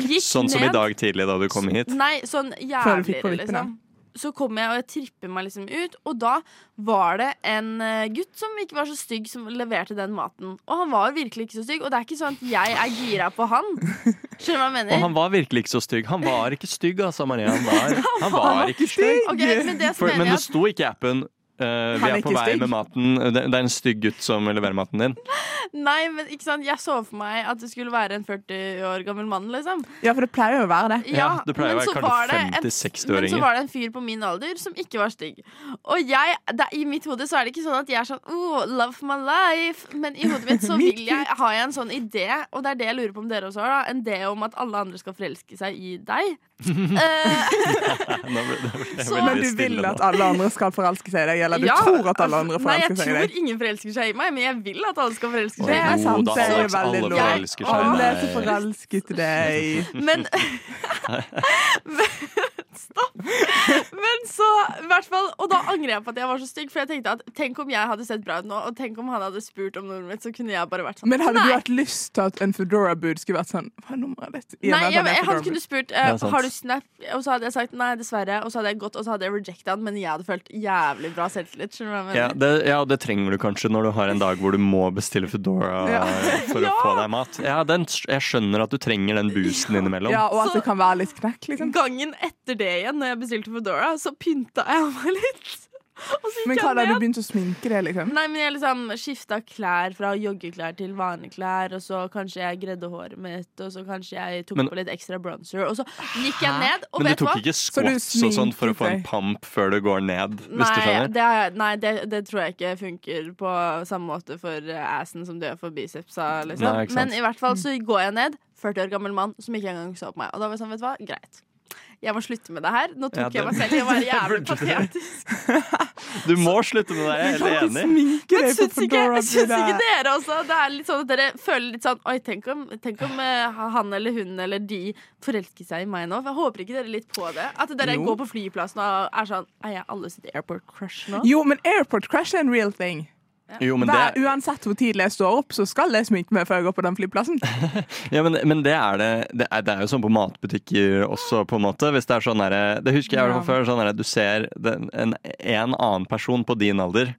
[SPEAKER 12] Gikk
[SPEAKER 13] Sånn som i
[SPEAKER 12] ned-
[SPEAKER 13] dag tidlig da du kom hit.
[SPEAKER 12] Nei, sånn
[SPEAKER 10] Før du fikk på vippen,
[SPEAKER 12] jævligere,
[SPEAKER 10] ja.
[SPEAKER 12] liksom. Så kom jeg og jeg tripper meg liksom ut, og da var det en eh, gutt som ikke var så stygg, som leverte den maten. Og han var virkelig ikke så stygg, og det er ikke sånn at jeg er gira på han. Skjønner du hva jeg mener?
[SPEAKER 13] Og han var virkelig ikke så stygg. Han var ikke stygg, altså, Maria. Han var, han var ikke stygg.
[SPEAKER 12] Ok, men det som
[SPEAKER 13] For, men
[SPEAKER 12] mener
[SPEAKER 13] det
[SPEAKER 12] jeg at
[SPEAKER 13] sto ikke i appen. eh, vi
[SPEAKER 10] Han er
[SPEAKER 13] er på
[SPEAKER 10] ikke
[SPEAKER 13] vei
[SPEAKER 10] stygg.
[SPEAKER 13] med maten. Det, det er en stygg gutt som leverer maten din.
[SPEAKER 12] Nei, men ikke sant, jeg så for meg at det skulle være en 40 år gammel mann, liksom.
[SPEAKER 10] Ja, for det pleier jo å være det.
[SPEAKER 13] Ja, det pleier å
[SPEAKER 12] men
[SPEAKER 13] være
[SPEAKER 12] så
[SPEAKER 13] kanskje
[SPEAKER 12] var det en-
[SPEAKER 13] 50-60-åringer.
[SPEAKER 12] Men så var det en fyr på min alder som ikke var stygg. Og jeg, det, i mitt hode så er det ikke sånn at jeg er sånn oh, love for my life. Men i hodet mitt så vil jeg, har jeg en sånn idé, og det er det jeg lurer på om dere også har, da, en idé om at alle andre skal forelske seg i deg. Eh,
[SPEAKER 13] Nå ble, nå ble jeg
[SPEAKER 12] Så-
[SPEAKER 13] veldig
[SPEAKER 10] Men du vil
[SPEAKER 13] stille
[SPEAKER 10] at
[SPEAKER 13] nå.
[SPEAKER 10] alle andre skal forelske seg i deg, eller du
[SPEAKER 12] ja,
[SPEAKER 10] tror at alle andre
[SPEAKER 12] Nei,
[SPEAKER 10] forelsker
[SPEAKER 12] jeg
[SPEAKER 10] seg i deg.
[SPEAKER 12] tror ingen forelsker seg i meg, men jeg vil at alle skal forelske
[SPEAKER 13] Oi,
[SPEAKER 12] seg i meg.
[SPEAKER 10] er sant,
[SPEAKER 13] da,
[SPEAKER 10] det er
[SPEAKER 13] Alex,
[SPEAKER 10] veldig
[SPEAKER 13] alle
[SPEAKER 12] lov.
[SPEAKER 13] forelsker seg i
[SPEAKER 10] Alle er
[SPEAKER 13] deg.
[SPEAKER 10] så forelsket i deg.
[SPEAKER 12] Men Stopp! Men så, i hvert fall Og da angrer jeg på at jeg var så stygg, for jeg tenkte at tenk om jeg hadde sett bra ut nå, og tenk om han hadde spurt om nummeret mitt, så kunne jeg bare vært sånn.
[SPEAKER 10] Men hadde du
[SPEAKER 12] Nei.
[SPEAKER 10] hatt lyst til at en Foodora-bud skulle vært sånn Hva er nummeret ditt? I og
[SPEAKER 12] Nei,
[SPEAKER 10] med at han
[SPEAKER 12] jeg,
[SPEAKER 10] er
[SPEAKER 12] jeg, han
[SPEAKER 10] Foodora-bud.
[SPEAKER 12] kunne spurt eh,
[SPEAKER 13] Det er sant.
[SPEAKER 12] Har du Snap, og så hadde jeg sagt nei, dessverre. Og så hadde jeg gått, og så hadde jeg rejecta han, men jeg hadde følt jævlig bra selvtillit. Skjønner du hva jeg
[SPEAKER 13] Ja
[SPEAKER 12] mener?
[SPEAKER 13] det, ja, det trenger du kanskje når du har en dag hvor du må bestille Foodora for å få deg mat. Ja, den, Jeg skjønner at du trenger den boosten innimellom.
[SPEAKER 10] Ja, og at
[SPEAKER 12] Så-
[SPEAKER 10] det kan være litt knekk, liksom.
[SPEAKER 12] Gangen etter det igjen, når jeg bestilte Foodora, så pynta jeg meg litt.
[SPEAKER 10] Men hva da, du begynte å sminke det, liksom?
[SPEAKER 12] Nei, men jeg liksom skifta klær fra joggeklær til vanlige klær, og så kanskje jeg gredde håret mitt, og så kanskje jeg tok
[SPEAKER 13] Men-
[SPEAKER 12] på litt ekstra bronzer, og så gikk jeg ned, og
[SPEAKER 13] Men du
[SPEAKER 12] vet du hva?
[SPEAKER 13] tok ikke
[SPEAKER 10] du
[SPEAKER 13] squats og sånn for å få en
[SPEAKER 10] sminket deg?
[SPEAKER 13] pump før du går ned, hvis du
[SPEAKER 12] Nei,
[SPEAKER 13] skjønner?
[SPEAKER 12] det, har jeg- nei det, det tror jeg ikke funker på samme måte for eh, assen som det gjør for bicepsa. Liksom.
[SPEAKER 13] Nei, ikke sant.
[SPEAKER 12] Men i hvert fall så går jeg ned, 40 år gammel mann som ikke engang så på meg. Og da var jeg sånn, vet du hva, greit. Jeg må slutte med det her. Nå tok
[SPEAKER 13] Ja, det-
[SPEAKER 12] jeg meg selv i å være jævlig
[SPEAKER 13] Det burde du.
[SPEAKER 12] patetisk.
[SPEAKER 13] Du må slutte med det, jeg er helt enig.
[SPEAKER 10] Sminke
[SPEAKER 12] Men
[SPEAKER 10] deg på
[SPEAKER 12] syns ikke,
[SPEAKER 10] Fedora.
[SPEAKER 12] syns ikke
[SPEAKER 10] Bruna.
[SPEAKER 12] dere også? Det er litt sånn at dere føler litt sånn Oi, tenk om, tenk om eh, han eller hun eller de forelsker seg i meg nå. Jeg håper ikke dere litt på det. At dere
[SPEAKER 10] Jo.
[SPEAKER 12] går på flyplassen og er sånn Er jeg alle sitt airport crush nå?
[SPEAKER 10] Jo, men airport crash er en real thing.
[SPEAKER 13] Jo, men
[SPEAKER 10] Hver,
[SPEAKER 13] det,
[SPEAKER 10] uansett hvor tidlig jeg står opp, så skal jeg sminke meg før jeg går på den flyplassen.
[SPEAKER 13] ja, men, men det er det det er, det er jo sånn på matbutikker også, på en måte. Hvis det er sånn derre Det husker jeg i hvert fall før. Sånn derre du ser den, en, en annen person på din alder.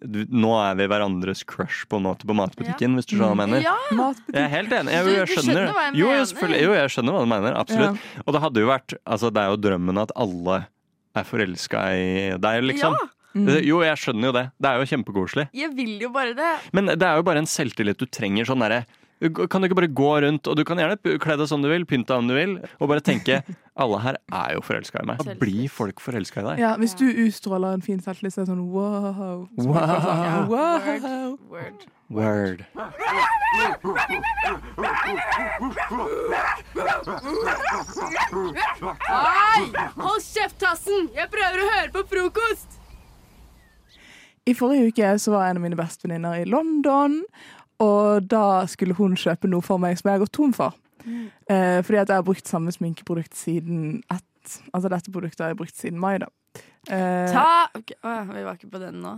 [SPEAKER 13] Du, nå er vi hverandres crush på en måte på matbutikken, hvis du skjønner hva jeg mener.
[SPEAKER 12] Ja, Mm.
[SPEAKER 13] Jeg er helt enig. Jeg,
[SPEAKER 12] Du-
[SPEAKER 13] jeg
[SPEAKER 12] du
[SPEAKER 13] skjønner.
[SPEAKER 12] skjønner hva jeg
[SPEAKER 13] jo, jo,
[SPEAKER 12] mener.
[SPEAKER 13] selvfølgelig. Jo, jeg skjønner hva du mener. Absolutt. Og det hadde jo vært Altså, det er jo drømmen at alle er forelska i deg, liksom.
[SPEAKER 12] Mm.
[SPEAKER 13] Eh, Jo, jeg skjønner jo det. Det er jo kjempekoselig.
[SPEAKER 12] jeg vil jo bare det.
[SPEAKER 13] Men det er jo bare en selvtillit du trenger. Sånn derre Kan du ikke bare gå rundt, og du kan gjerne p- kle deg som du vil, pynte deg om du vil, og bare tenke Alle her er jo forelska i meg. Da blir folk forelska i deg.
[SPEAKER 10] Ja, hvis du utstråler en fin selvtillit, så er det sånn wow.
[SPEAKER 13] Wow.
[SPEAKER 10] wow.
[SPEAKER 12] Word.
[SPEAKER 13] Word.
[SPEAKER 12] Nei! Hold kjeft, Tassen! Jeg prøver å høre på frokost!
[SPEAKER 10] I forrige uke så var en av mine bestevenninner i London, og da skulle hun kjøpe noe for meg som jeg har gått tom for.
[SPEAKER 12] Mm.
[SPEAKER 10] Eh, fordi at jeg har brukt samme sminkeprodukt siden et, Altså dette produktet har jeg brukt siden mai, da. Eh,
[SPEAKER 12] Ta Ok, å ja, Vi var ikke på den nå.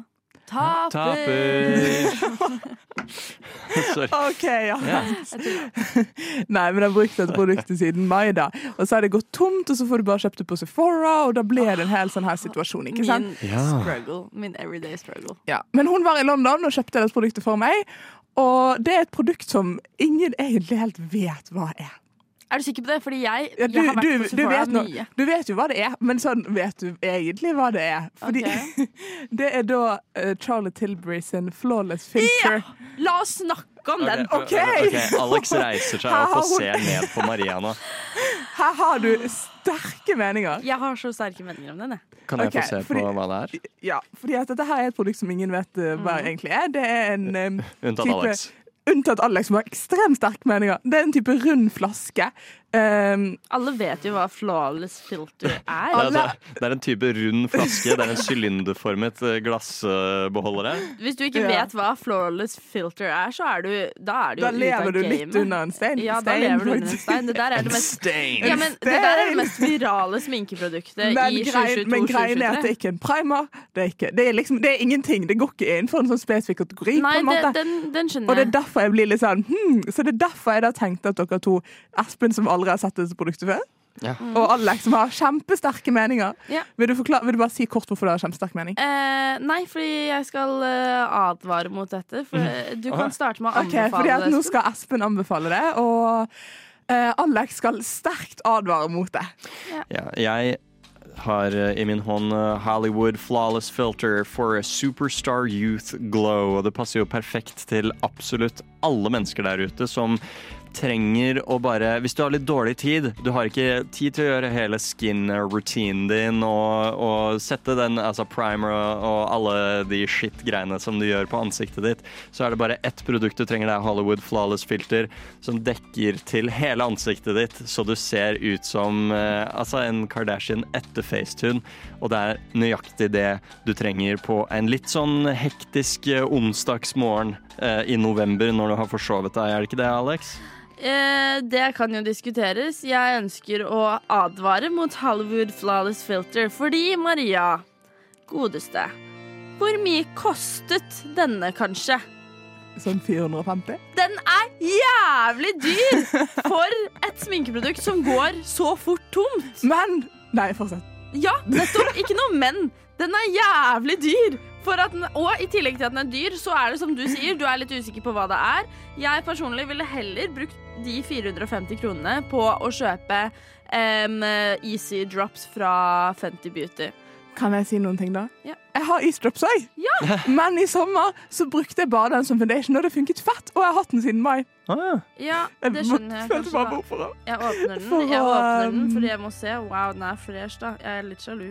[SPEAKER 12] Taper!
[SPEAKER 13] Taper. Sorry.
[SPEAKER 10] OK, ja.
[SPEAKER 13] Ja.
[SPEAKER 10] Nei, men jeg har brukt dette produktet siden mai, da. Og så har det gått tomt, og så får du bare kjøpt det på Sephora, og da ble det en hel sånn her situasjon, ikke sant?
[SPEAKER 12] Ah, Min
[SPEAKER 13] Ja.
[SPEAKER 12] struggle. Min everyday struggle.
[SPEAKER 10] Ja. Men hun var i London og kjøpte dette produktet for meg, og det er et produkt som ingen egentlig helt vet hva er.
[SPEAKER 12] Er du sikker på det? Fordi jeg,
[SPEAKER 10] Ja,
[SPEAKER 12] jeg har vært på
[SPEAKER 10] du
[SPEAKER 12] Sephora
[SPEAKER 10] vet nå-
[SPEAKER 12] mye.
[SPEAKER 10] Du vet jo hva det er, men sånn vet du egentlig hva det er. Fordi det er da eh, Charlie Tilbury sin Flawless Filter.
[SPEAKER 12] La oss snakke om den.
[SPEAKER 10] Ok.
[SPEAKER 13] ok, Alex reiser seg opp og ser ned på Maria nå.
[SPEAKER 10] Her har du sterke meninger.
[SPEAKER 12] Jeg har så sterke meninger om den. Jeg.
[SPEAKER 13] Kan jeg
[SPEAKER 10] Ok,
[SPEAKER 13] få se
[SPEAKER 10] fordi-
[SPEAKER 13] på hva det er?
[SPEAKER 10] Ja, fordi at dette her er et produkt som ingen vet eh,
[SPEAKER 12] Mm.
[SPEAKER 10] hva egentlig er. Det er en em,
[SPEAKER 13] Unntatt
[SPEAKER 10] type-
[SPEAKER 13] Alex.
[SPEAKER 10] Unntatt Alex, som har ekstremt sterke meninger. Det er en type rund flaske. Ehm, Em,
[SPEAKER 12] Alle vet jo hva flawless filter er.
[SPEAKER 13] Det er, altså, det er en type rund flaske. Det er en sylinderformet eh, glassbeholdere.
[SPEAKER 12] Hvis du ikke
[SPEAKER 10] Ja.
[SPEAKER 12] vet hva flawless filter er, så er du, da er du
[SPEAKER 10] da
[SPEAKER 12] jo ute
[SPEAKER 10] lever
[SPEAKER 12] av
[SPEAKER 10] du litt
[SPEAKER 12] gamet.
[SPEAKER 10] under en stein.
[SPEAKER 12] Ja, da
[SPEAKER 10] stein,
[SPEAKER 12] lever du under en
[SPEAKER 10] faktisk.
[SPEAKER 12] stein. Det der er det mest
[SPEAKER 13] Stain!
[SPEAKER 12] Ja, men det der er det mest virale sminkeproduktet
[SPEAKER 10] Men,
[SPEAKER 12] i
[SPEAKER 10] greien, men greien er at det
[SPEAKER 12] 2022-2023.
[SPEAKER 10] er ikke en primer. Det er, ikke, det er, liksom, det er ingenting. Det går ikke innenfor en sånn spesifikk kategori.
[SPEAKER 12] Nei,
[SPEAKER 10] på en
[SPEAKER 12] det,
[SPEAKER 10] måte.
[SPEAKER 12] den, den skjønner
[SPEAKER 10] og det
[SPEAKER 12] jeg.
[SPEAKER 10] er derfor jeg blir litt sånn hmm. Så det er derfor jeg da tenkte at dere to, Espen som aldri har sett dette produktet før,
[SPEAKER 13] Ja.
[SPEAKER 10] og Alex som har kjempesterke meninger
[SPEAKER 12] Mm. Ja.
[SPEAKER 10] vil, du forklare, vil du bare si kort hvorfor du har kjempesterk mening?
[SPEAKER 12] Eh, nei, fordi jeg skal eh, advare mot dette. For eh,
[SPEAKER 13] Mm.
[SPEAKER 12] du kan starte med å
[SPEAKER 10] Ok,
[SPEAKER 12] anbefale
[SPEAKER 10] fordi at Nå
[SPEAKER 12] det. Espen.
[SPEAKER 10] skal Espen anbefale det, og eh, Alex skal sterkt advare mot det.
[SPEAKER 13] Ja, jeg har eh, i min hånd eh, Hollywood Flawless Filter for a Superstar Youth Glow. Og det passer jo perfekt til absolutt alle mennesker der ute som trenger å bare Hvis du har litt dårlig tid, du har ikke tid til å gjøre hele skin-routinen din og, og sette den altså primer og, og alle de shit-greiene som du gjør på ansiktet ditt, så er det bare ett produkt du trenger. Det er Hollywood Flawless Filter som dekker til hele ansiktet ditt, så du ser ut som eh, altså en Kardashian etter facetune. Og det er nøyaktig det du trenger på en litt sånn hektisk eh, onsdagsmorgen eh, i november når du har forsovet deg. Er det ikke det, Alex?
[SPEAKER 12] Eh, det kan jo diskuteres. Jeg ønsker å advare mot Hollywood Flawless Filter fordi, Maria, godeste Hvor mye kostet denne, kanskje?
[SPEAKER 10] Sånn 450.
[SPEAKER 12] Den er jævlig dyr for et sminkeprodukt som går så fort tomt.
[SPEAKER 10] Men Nei, fortsett.
[SPEAKER 12] Ja, nettopp. Ikke noe men. Den er jævlig dyr. For at den, og i tillegg til at den er dyr, så er det som du sier, du er litt usikker på hva det er. Jeg personlig ville heller brukt de 450 kronene på å kjøpe em, Easy Drops fra Fenty Beauty.
[SPEAKER 10] Kan jeg si noen ting, da?
[SPEAKER 12] Ja.
[SPEAKER 10] Jeg har eavesdrops òg, men i sommer så brukte jeg bare den som foundation, og det funket fett. Og jeg har hatt den siden mai.
[SPEAKER 13] Ah,
[SPEAKER 12] Ja,
[SPEAKER 10] Jeg
[SPEAKER 12] det skjønner jeg
[SPEAKER 10] følte
[SPEAKER 12] kanskje.
[SPEAKER 10] bare
[SPEAKER 12] da.
[SPEAKER 10] behov for det.
[SPEAKER 12] Jeg åpner
[SPEAKER 10] For
[SPEAKER 12] den, jeg
[SPEAKER 10] å,
[SPEAKER 12] åpner den
[SPEAKER 10] um,
[SPEAKER 12] fordi jeg må se. Wow, den er fresh, da. Jeg er litt sjalu.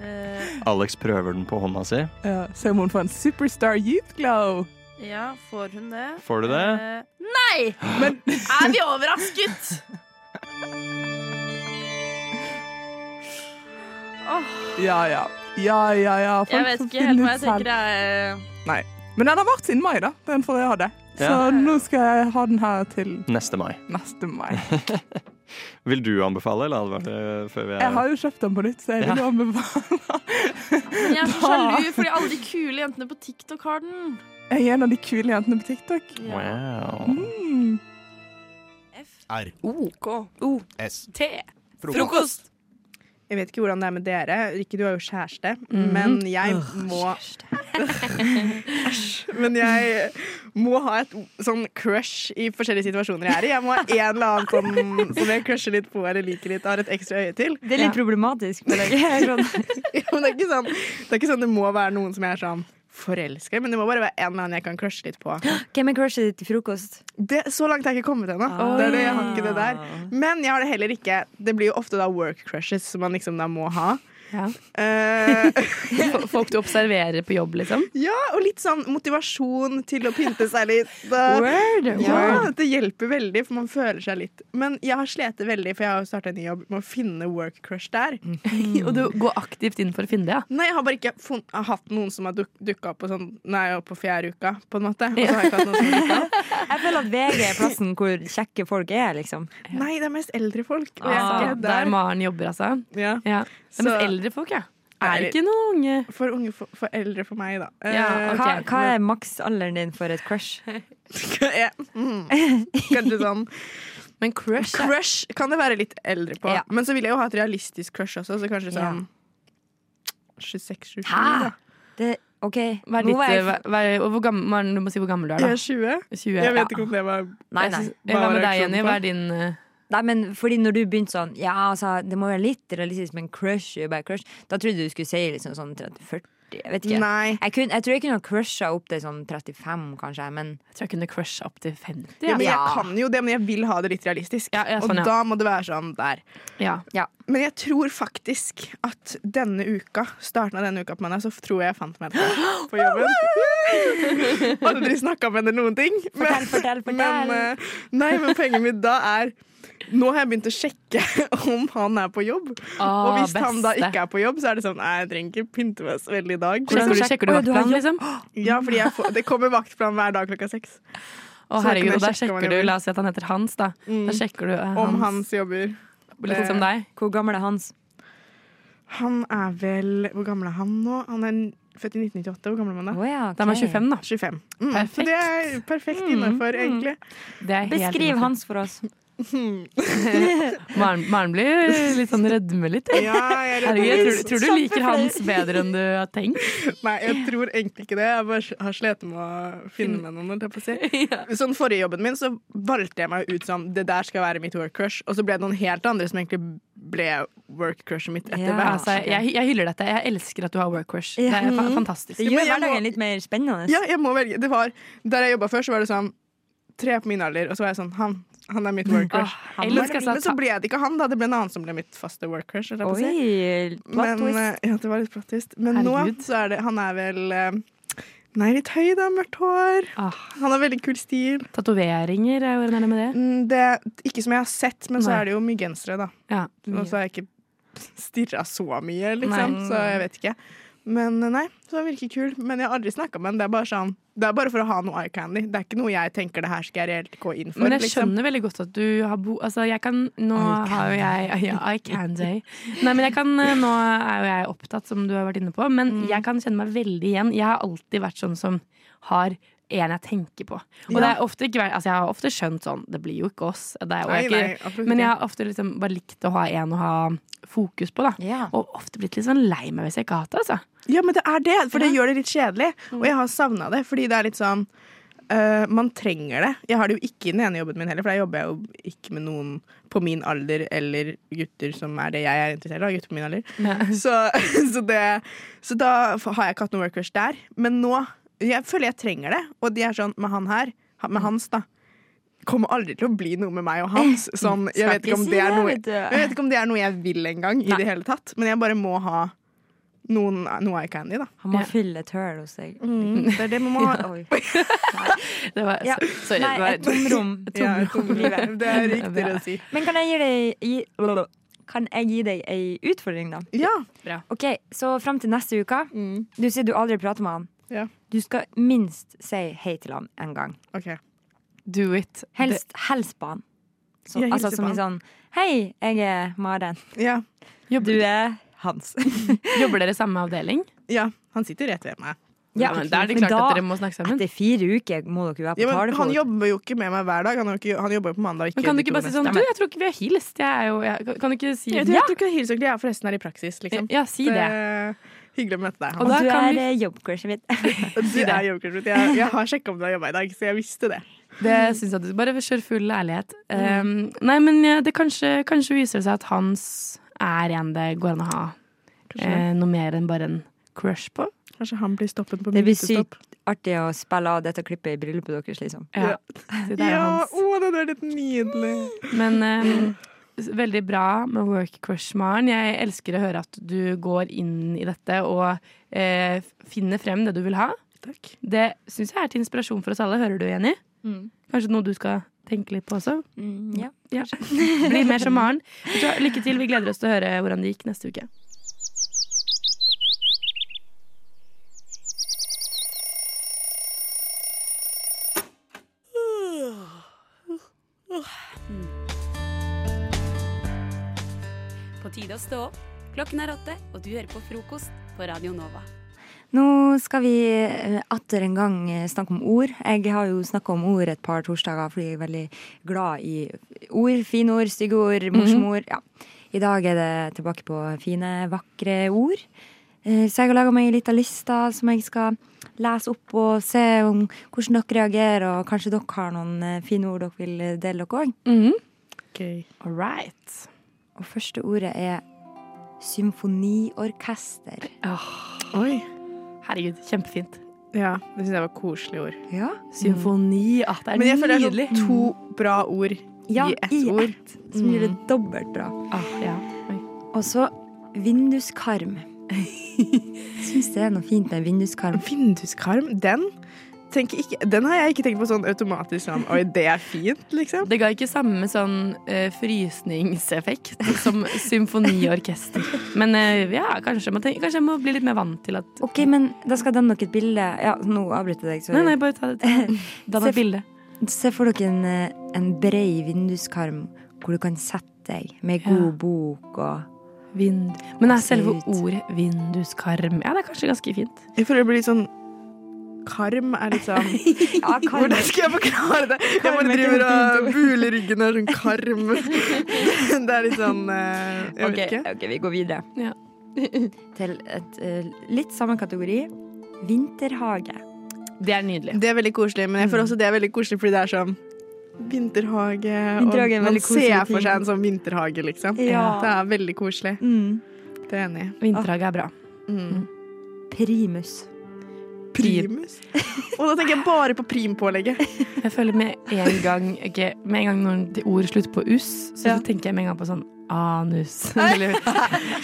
[SPEAKER 12] Eh,
[SPEAKER 13] Alex prøver den på hånda si.
[SPEAKER 10] Ja, Se om hun får en Superstar Youth Glow.
[SPEAKER 12] ja, får hun det?
[SPEAKER 13] Får du det?
[SPEAKER 12] Eh, nei!
[SPEAKER 10] Men
[SPEAKER 12] Er vi overrasket? Åh,
[SPEAKER 10] ja, ja. Ja, ja, ja. Folk
[SPEAKER 12] jeg vet
[SPEAKER 10] får
[SPEAKER 12] ikke
[SPEAKER 10] finne
[SPEAKER 12] helt
[SPEAKER 10] ut
[SPEAKER 12] hva jeg
[SPEAKER 10] selv.
[SPEAKER 12] tenker. Jeg. eh.
[SPEAKER 10] Men den har vært siden mai, da. Den forrige jeg hadde. Så
[SPEAKER 13] Ja.
[SPEAKER 10] nå skal jeg ha den her til
[SPEAKER 13] Neste mai.
[SPEAKER 10] neste mai.
[SPEAKER 13] Vil du anbefale, eller advare eh, før vi er
[SPEAKER 10] Jeg har jo kjøpt den på nytt, så jeg vil jo anbefale
[SPEAKER 12] Men jeg er så sjalu fordi alle de kule jentene på TikTok har den.
[SPEAKER 10] Jeg er en av de kule jentene på TikTok.
[SPEAKER 13] Wow.
[SPEAKER 10] Mm.
[SPEAKER 14] Te. Frokost.
[SPEAKER 15] Jeg vet ikke hvordan det er med dere. Rikke, du har jo kjæreste.
[SPEAKER 5] Mm.
[SPEAKER 15] Men jeg må Æsj. Men jeg må ha et sånn crush i forskjellige situasjoner jeg er i. Jeg må ha en eller annen sånn som jeg crusher litt på eller liker litt, har et ekstra øye til.
[SPEAKER 5] Det er litt problematisk. Men jeg er sånn,
[SPEAKER 15] Ja, Men det er ikke sånn det, er ikke sånn, det må være noen som jeg er sånn forelsker, men det må bare være en eller annen jeg kan crushe litt på.
[SPEAKER 14] Hvem er crushet ditt til frokost?
[SPEAKER 15] Det, så langt har jeg ikke kommet ennå.
[SPEAKER 14] Ah.
[SPEAKER 15] Det er det, jeg har ikke det der. Men jeg har det heller ikke. Det blir jo ofte da work crushes som man liksom da må ha.
[SPEAKER 14] Ja.
[SPEAKER 15] Eh,
[SPEAKER 14] Folk du observerer på jobb, liksom?
[SPEAKER 15] Um, ja, og litt sånn motivasjon til å pynte seg litt. Da.
[SPEAKER 14] Word!
[SPEAKER 15] Ja, det hjelper veldig, for man føler seg litt Men jeg har slitt veldig, for jeg har jo starta en ny jobb med å finne work crush der.
[SPEAKER 14] Mhm. Og du går aktivt inn for å finne det, ja?
[SPEAKER 15] Nei, jeg har bare ikke fun har hatt noen som har duk dukka opp på sånn Nå er jeg oppe på fjerde uka, på en måte. Og så har jeg ikke hatt noen som har dukket opp.
[SPEAKER 14] Jeg føler at VG er plassen hvor kjekke folk er, liksom.
[SPEAKER 15] Nei, det er mest eldre folk. Og jeg er
[SPEAKER 14] Ah,
[SPEAKER 15] ikke
[SPEAKER 14] der
[SPEAKER 15] der.
[SPEAKER 14] Maren jobber, altså.
[SPEAKER 15] Ja.
[SPEAKER 14] Ja. Det er
[SPEAKER 15] Så-
[SPEAKER 14] mest eldre folk, ja.
[SPEAKER 15] Er
[SPEAKER 14] Er
[SPEAKER 15] det-
[SPEAKER 14] ikke noen unge.
[SPEAKER 15] For unge for, for eldre for meg, da. Eh,
[SPEAKER 14] hva, er maksalderen din for et crush?
[SPEAKER 15] ja, mm. Kanskje sånn
[SPEAKER 14] Men crush er
[SPEAKER 15] Crush kan det være litt eldre på.
[SPEAKER 14] Ja.
[SPEAKER 15] Men så vil jeg jo ha et realistisk crush også, så kanskje
[SPEAKER 14] Ja.
[SPEAKER 15] sånn 26-27.
[SPEAKER 14] Hæ?
[SPEAKER 15] da.
[SPEAKER 14] det, OK.
[SPEAKER 5] hva er
[SPEAKER 14] Nå
[SPEAKER 5] ditt,
[SPEAKER 14] var jeg-
[SPEAKER 5] eh, hva, hva er, og hvor gammel, Maren, du må si hvor gammel du
[SPEAKER 15] Jeg
[SPEAKER 5] er, da.
[SPEAKER 15] er 20.
[SPEAKER 5] 20,
[SPEAKER 15] Jeg
[SPEAKER 5] ja.
[SPEAKER 15] vet ikke om det var
[SPEAKER 14] Nei,
[SPEAKER 15] jeg
[SPEAKER 14] nei.
[SPEAKER 15] synes
[SPEAKER 5] Hva med deg,
[SPEAKER 15] reaksjonen
[SPEAKER 5] Jenny?
[SPEAKER 15] på
[SPEAKER 5] Hva
[SPEAKER 15] det.
[SPEAKER 5] er din eh,
[SPEAKER 14] Nei, men fordi når du begynte sånn Ja, altså, det må være litt realistisk, men crush er jo bare crush. Da trodde jeg du skulle si liksom sånn 30-40. Jeg vet ikke.
[SPEAKER 15] Nei.
[SPEAKER 14] Jeg, kunne, jeg tror jeg kunne ha crusha opp til sånn 35, kanskje, men
[SPEAKER 5] Jeg tror jeg kunne crusha opp til altså. 50.
[SPEAKER 15] Ja, men jeg
[SPEAKER 14] Ja.
[SPEAKER 15] kan jo det, men jeg vil ha det litt realistisk.
[SPEAKER 5] Ja, ja, sånn, ja.
[SPEAKER 15] Og da må det være sånn der.
[SPEAKER 5] Ja.
[SPEAKER 15] Men jeg tror faktisk at denne uka, starten av denne uka på mandag, så tror jeg jeg fant meg det på jobben. Aldri snakka med henne noen ting.
[SPEAKER 14] Fortell, fortell, fortell.
[SPEAKER 15] Men, eh, nei, men poenget mitt da er Nå har jeg begynt å sjekke om han er på jobb.
[SPEAKER 5] Ah,
[SPEAKER 15] og hvis han da
[SPEAKER 5] beste.
[SPEAKER 15] ikke er på jobb, så er det sånn Nei, jeg trenger ikke pynte meg så veldig i dag.
[SPEAKER 5] Sjekker du,
[SPEAKER 15] Så-
[SPEAKER 5] sjekker du
[SPEAKER 14] Oi, du har
[SPEAKER 5] vaktplan,
[SPEAKER 14] jobb.
[SPEAKER 5] liksom?
[SPEAKER 15] Ja, fordi jeg får, Det kommer vaktplan hver dag klokka seks.
[SPEAKER 5] Å,
[SPEAKER 15] Så da kan
[SPEAKER 5] herregud,
[SPEAKER 15] jeg
[SPEAKER 5] og der
[SPEAKER 15] sjekke om
[SPEAKER 5] sjekker
[SPEAKER 15] han
[SPEAKER 5] du
[SPEAKER 15] jobber.
[SPEAKER 5] La oss si at han heter Hans, da. Da sjekker du eh,
[SPEAKER 15] Mm. Om
[SPEAKER 5] Hans.
[SPEAKER 15] hans jobber. Eh,
[SPEAKER 5] Litt som deg.
[SPEAKER 14] hvor gammel er Hans?
[SPEAKER 15] Han er vel Hvor gammel er han nå? Han er født i 1998. Hvor gammel er han da?
[SPEAKER 14] Å ja, ok.
[SPEAKER 5] Da er man 25, da.
[SPEAKER 15] 25. Mm.
[SPEAKER 5] Perfekt. Mm.
[SPEAKER 15] Så det er perfekt innafor, egentlig.
[SPEAKER 5] Det er helt
[SPEAKER 14] Beskriv
[SPEAKER 5] innenfor.
[SPEAKER 14] Hans for oss.
[SPEAKER 5] Maren, Maren blir litt sånn rødme litt. jeg.
[SPEAKER 15] Ja, jeg, er
[SPEAKER 5] Herregud, jeg tror,
[SPEAKER 15] redd.
[SPEAKER 5] tror du liker Hans bedre enn du har tenkt.
[SPEAKER 15] Nei, jeg tror egentlig ikke det. Jeg bare har slitt med å finne meg noen. holdt Jeg på å si. Sånn forrige jobben min så valgte jeg meg ut som det der skal være mitt work crush, og så ble det noen helt andre som egentlig ble work crushet mitt etter
[SPEAKER 14] Ja.
[SPEAKER 15] hvert.
[SPEAKER 5] Altså, jeg, jeg hyller dette. Jeg elsker at du har work crush. Det
[SPEAKER 14] Ja.
[SPEAKER 5] er fa fantastisk.
[SPEAKER 14] Det
[SPEAKER 15] Men
[SPEAKER 14] gjør
[SPEAKER 15] jeg må-
[SPEAKER 14] hverdagen litt mer spennende.
[SPEAKER 15] Ja, jeg må velge. Det var, der jeg jobba før, så var det sånn tre på min alder, og så var jeg sånn han. Han er mitt work crush.
[SPEAKER 5] Åh,
[SPEAKER 15] Han
[SPEAKER 5] elsker
[SPEAKER 15] var det,
[SPEAKER 5] seg
[SPEAKER 15] men så
[SPEAKER 5] ta-
[SPEAKER 15] ble det ikke han, da. Det ble en annen som ble mitt faste work crush. holdt jeg på å si.
[SPEAKER 14] Oi, plot
[SPEAKER 15] Men,
[SPEAKER 14] twist.
[SPEAKER 15] eh, ja, det var litt plot twist. Men
[SPEAKER 5] Herregud.
[SPEAKER 15] nå så er det Han er vel eh, Nei, litt høy, da. Mørkt hår.
[SPEAKER 5] Ah,
[SPEAKER 15] Han har veldig kul stil.
[SPEAKER 5] Tatoveringer, er jo nærme det.
[SPEAKER 15] Mm, Det, ikke som jeg har sett, men så
[SPEAKER 5] Nei.
[SPEAKER 15] er det jo mye gensere, da.
[SPEAKER 5] Ja.
[SPEAKER 15] Og så har jeg ikke stirra så mye, liksom.
[SPEAKER 5] Nei.
[SPEAKER 15] Så jeg vet ikke. Men eh, nei, så han virker kul. Men jeg har aldri snakka med han. Det er bare sånn Det er bare for å ha noe eye candy. Det er ikke noe jeg tenker det her skal jeg reelt gå inn for.
[SPEAKER 5] Men jeg
[SPEAKER 15] liksom. Oh,
[SPEAKER 5] skjønner veldig godt at du har bo... Altså, jeg kan Nå har jo jeg Ja, I can day. Nei, men jeg kan eh, Nå er jo jeg opptatt, som du har vært inne på, men
[SPEAKER 15] Mm.
[SPEAKER 5] jeg kan kjenne meg veldig igjen. Jeg har alltid vært sånn som har en jeg tenker på. Og det er ofte ikke Altså, jeg har ofte skjønt sånn Det blir jo ikke oss. Det er, og
[SPEAKER 15] Nei,
[SPEAKER 5] jeg
[SPEAKER 15] nei,
[SPEAKER 5] er ikke,
[SPEAKER 15] absolutt
[SPEAKER 5] men jeg
[SPEAKER 15] ikke.
[SPEAKER 5] har ofte liksom bare likt å ha en å ha fokus på, da.
[SPEAKER 14] Ja.
[SPEAKER 5] Og ofte blitt litt sånn lei meg hvis jeg ikke har hatt det, altså.
[SPEAKER 15] Ja, men det er det, for det gjør det litt kjedelig. Og jeg har savna det, fordi det er litt sånn eh, man trenger det. Jeg har det jo ikke i den ene jobben min heller, for der jobber jeg jo ikke med noen på min alder eller gutter som er det jeg er interessert av. gutter på min alder. Så, så, det, så da har jeg ikke hatt noe work crush der. Men nå jeg føler jeg trenger det. Og de er sånn med han her, han- med hans, da. Kommer aldri til å bli noe med meg og hans. Sånn, jeg,
[SPEAKER 5] Skal
[SPEAKER 15] vet ikke
[SPEAKER 5] ikke
[SPEAKER 15] om
[SPEAKER 5] si
[SPEAKER 15] det er
[SPEAKER 5] det,
[SPEAKER 15] noe,
[SPEAKER 5] vet du.
[SPEAKER 15] jeg vet ikke om det er noe jeg vil engang, i det hele tatt. Men jeg bare må ha noen, noe eye candy, da.
[SPEAKER 14] Han må fylle et høl hos deg.
[SPEAKER 15] Mm, det er det man må ha.
[SPEAKER 14] Oi. Det var,
[SPEAKER 15] Ja.
[SPEAKER 14] Sorry.
[SPEAKER 15] Nei,
[SPEAKER 14] det var
[SPEAKER 15] et tomrom.
[SPEAKER 14] Et
[SPEAKER 15] Ja, et
[SPEAKER 14] tomrom.
[SPEAKER 15] tomrom. Det er riktigere
[SPEAKER 14] Bra.
[SPEAKER 15] å si.
[SPEAKER 14] Men kan jeg gi deg, gi, kan jeg gi deg ei utfordring, da?
[SPEAKER 15] Ja.
[SPEAKER 14] Ok, Så fram til neste uke Du sier du aldri prater med han. Du skal minst si hei til han en gang.
[SPEAKER 5] Do it.
[SPEAKER 14] Helst hils på han. Så,
[SPEAKER 5] Ja, hilse
[SPEAKER 14] altså
[SPEAKER 5] på
[SPEAKER 14] som i
[SPEAKER 5] han.
[SPEAKER 14] sånn Hei, jeg er Maren. Du er Hans.
[SPEAKER 5] Jobber dere i samme avdeling?
[SPEAKER 15] Ja, han sitter rett ved meg.
[SPEAKER 14] Ja,
[SPEAKER 5] men da er det klart
[SPEAKER 14] men da-
[SPEAKER 5] at dere må snakke sammen.
[SPEAKER 14] Etter fire uker må dere jo være på
[SPEAKER 15] Ja, men han
[SPEAKER 14] talefot.
[SPEAKER 15] jobber jo ikke med meg hver dag. Han, har jo ikke, han jobber jo på mandag. Ikke
[SPEAKER 5] Men kan du
[SPEAKER 15] de
[SPEAKER 5] ikke
[SPEAKER 15] to
[SPEAKER 5] bare si sånn
[SPEAKER 15] neste.
[SPEAKER 5] Du, jeg tror ikke vi har hilst. Jeg er jo jeg, Kan du ikke si
[SPEAKER 15] Jeg tror, jeg tror ikke hilser ordentlig. Jeg er forresten her i praksis, liksom.
[SPEAKER 5] Ja, si det.
[SPEAKER 15] er Hyggelig å møte deg.
[SPEAKER 5] Og da Du kan vi-
[SPEAKER 14] er jobbcrushet mitt.
[SPEAKER 15] du
[SPEAKER 5] det.
[SPEAKER 15] er jobbcrushet mitt. Jeg, jeg har sjekka om du har jobba i dag, så jeg visste det.
[SPEAKER 5] Det synes jeg du Bare kjør full ærlighet.
[SPEAKER 15] Mm.
[SPEAKER 5] Um, nei, men eh, det kanskje, kanskje viser det seg at Hans er en det går an å ha
[SPEAKER 15] Kanskje
[SPEAKER 5] eh, noe mer enn bare en crush på.
[SPEAKER 15] Kanskje han blir stoppet på
[SPEAKER 14] Det blir
[SPEAKER 15] minstestopp.
[SPEAKER 14] sykt artig å spille av dette klippet i bryllupet deres, liksom.
[SPEAKER 5] Ja. Det der er
[SPEAKER 15] Ja,
[SPEAKER 5] Hans.
[SPEAKER 15] å, det hadde vært litt nydelig.
[SPEAKER 5] Men eh, s- veldig bra med work crush, Maren. Jeg elsker å høre at du går inn i dette og eh, finner frem det du vil ha. Det syns jeg er til inspirasjon for oss alle. Hører du, Jenny?
[SPEAKER 14] Mm.
[SPEAKER 5] Kanskje noe du skal tenke litt på også? Mm,
[SPEAKER 14] ja,
[SPEAKER 5] Bli mer som Maren. Vet du hva, Lykke til. Vi gleder oss til å høre hvordan det gikk neste uke.
[SPEAKER 16] På tide å stå opp. Klokken er åtte, og du hører på frokost på Radio Nova.
[SPEAKER 14] Nå skal vi eh, atter en gang eh, snakke om ord. Jeg har jo snakka om ord et par torsdager fordi jeg er veldig glad i ord. Fine ord, stygge ord, morsmor. ja. I dag er det tilbake på fine, vakre ord. Eh, Så jeg har laga meg ei lita liste som jeg skal lese opp og se om hvordan dere reagerer. Og kanskje dere har noen eh, fine ord dere vil eh, dele, dere òg.
[SPEAKER 5] All right.
[SPEAKER 14] Og første ordet er symfoniorkester.
[SPEAKER 15] Oi.
[SPEAKER 5] Herregud, kjempefint.
[SPEAKER 15] Ja, det syns jeg var koselige ord.
[SPEAKER 14] Ja. Mm.
[SPEAKER 5] Symfoni. Ah, det er
[SPEAKER 15] Men jeg føler det
[SPEAKER 5] nydelig.
[SPEAKER 15] er sånn to bra ord
[SPEAKER 14] Ja,
[SPEAKER 15] i ett
[SPEAKER 14] i
[SPEAKER 15] ord.
[SPEAKER 14] ett, som gjør det
[SPEAKER 5] Mm.
[SPEAKER 14] dobbelt bra.
[SPEAKER 5] Ah,
[SPEAKER 14] Og så vinduskarm. Syns det er noe fint med vinduskarm.
[SPEAKER 15] Vinduskarm, den tenker ikke, Den har jeg ikke tenkt på sånn automatisk sånn Oi, det er fint, liksom.
[SPEAKER 5] Det ga ikke samme sånn eh, frysningseffekt som symfoniorkester. Men eh, ja, kanskje man tenker, kanskje jeg må bli litt mer vant til at
[SPEAKER 14] Ok, men da skal danne dere et bilde. Ja, nå avbryter jeg deg. sorry.
[SPEAKER 5] Nei, nei, bare ta det. Da var
[SPEAKER 14] Se-
[SPEAKER 5] bildet.
[SPEAKER 14] Se for dere en, eh, en brei vinduskarm hvor du kan sette deg med
[SPEAKER 5] Ja.
[SPEAKER 14] god bok og
[SPEAKER 5] Vind. Men er selve ordet vinduskarm Ja, det er kanskje ganske fint.
[SPEAKER 15] Jeg føler det blir litt sånn Karm er litt sånn
[SPEAKER 14] Ja, karm.
[SPEAKER 15] Hvordan skal jeg forklare det? Jeg
[SPEAKER 14] Karm
[SPEAKER 15] bare
[SPEAKER 14] er ikke
[SPEAKER 15] driver
[SPEAKER 14] noe
[SPEAKER 15] og
[SPEAKER 14] fint
[SPEAKER 15] buler ryggen og er sånn karm. Det er litt sånn eh, Jeg vet
[SPEAKER 14] Ok,
[SPEAKER 15] ikke.
[SPEAKER 14] ok, vi går videre. Til et, eh, litt samme kategori. Vinterhage.
[SPEAKER 5] Det er nydelig.
[SPEAKER 15] Det er veldig koselig, men jeg føler også det er veldig koselig fordi det er sånn vinterhage. Og
[SPEAKER 14] Vinterhage er en
[SPEAKER 15] man
[SPEAKER 14] veldig koselig
[SPEAKER 15] ser for
[SPEAKER 14] ting.
[SPEAKER 15] seg en sånn vinterhage, liksom.
[SPEAKER 14] Ja.
[SPEAKER 15] Det er veldig koselig.
[SPEAKER 14] Mm.
[SPEAKER 15] Det er jeg enig i. Mm.
[SPEAKER 5] Vinterhage er bra. Mm.
[SPEAKER 14] Primus.
[SPEAKER 15] Primus? Og da tenker jeg bare på primpålegget.
[SPEAKER 5] Jeg føler med en gang ok, Med en gang noen ord slutter på us, så, tenker jeg med en gang på sånn anus. Eller,